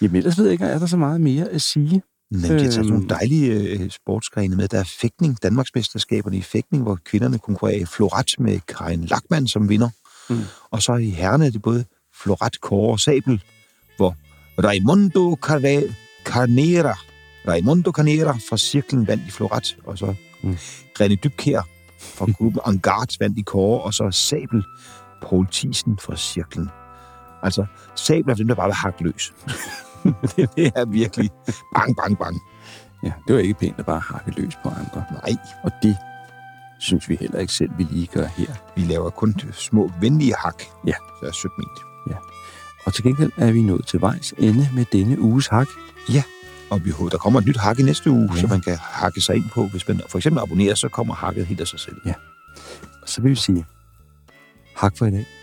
Speaker 2: Jamen ellers ved jeg ikke, er der så meget mere at sige.
Speaker 3: Men de har taget
Speaker 2: Øhm.
Speaker 3: nogle dejlige øh, sportsgrene med. Der er fægtning, Danmarksmesterskaberne i fægtning, hvor kvinderne konkurrerer i floret med Karin Lackmann som vinder.
Speaker 2: Mm.
Speaker 3: Mm. Og så i herrene er det både floret, kåre og sabel, hvor Raimundo Carve- Carnera, Raimundo Carnera fra Cirklen vandt i floret, og så
Speaker 2: Mm.
Speaker 3: mm. René Dybkær <laughs> fra gruppen Angard vandt i kåre, og så sabel Paul Thiesen fra Cirklen. Altså, sabel er dem, der bare vil hakke <laughs> løs. det, det er virkelig bang, bang, bang.
Speaker 2: Ja, det var ikke pænt at bare hakke løs på andre.
Speaker 3: Nej,
Speaker 2: Og det synes vi heller ikke selv, vi lige gør her.
Speaker 3: vi laver kun små venlige hak.
Speaker 2: Ja.
Speaker 3: Så er sødt ment.
Speaker 2: Og til gengæld er vi nået til vejs ende med denne uges hak.
Speaker 3: Og vi håber, der kommer et nyt hak i næste uge,
Speaker 2: Ja.
Speaker 3: ja. så man kan hakke sig ind på. Hvis man for eksempel abonnerer, så kommer hakket helt af sig selv.
Speaker 2: Og så vil vi sige, hak for i dag.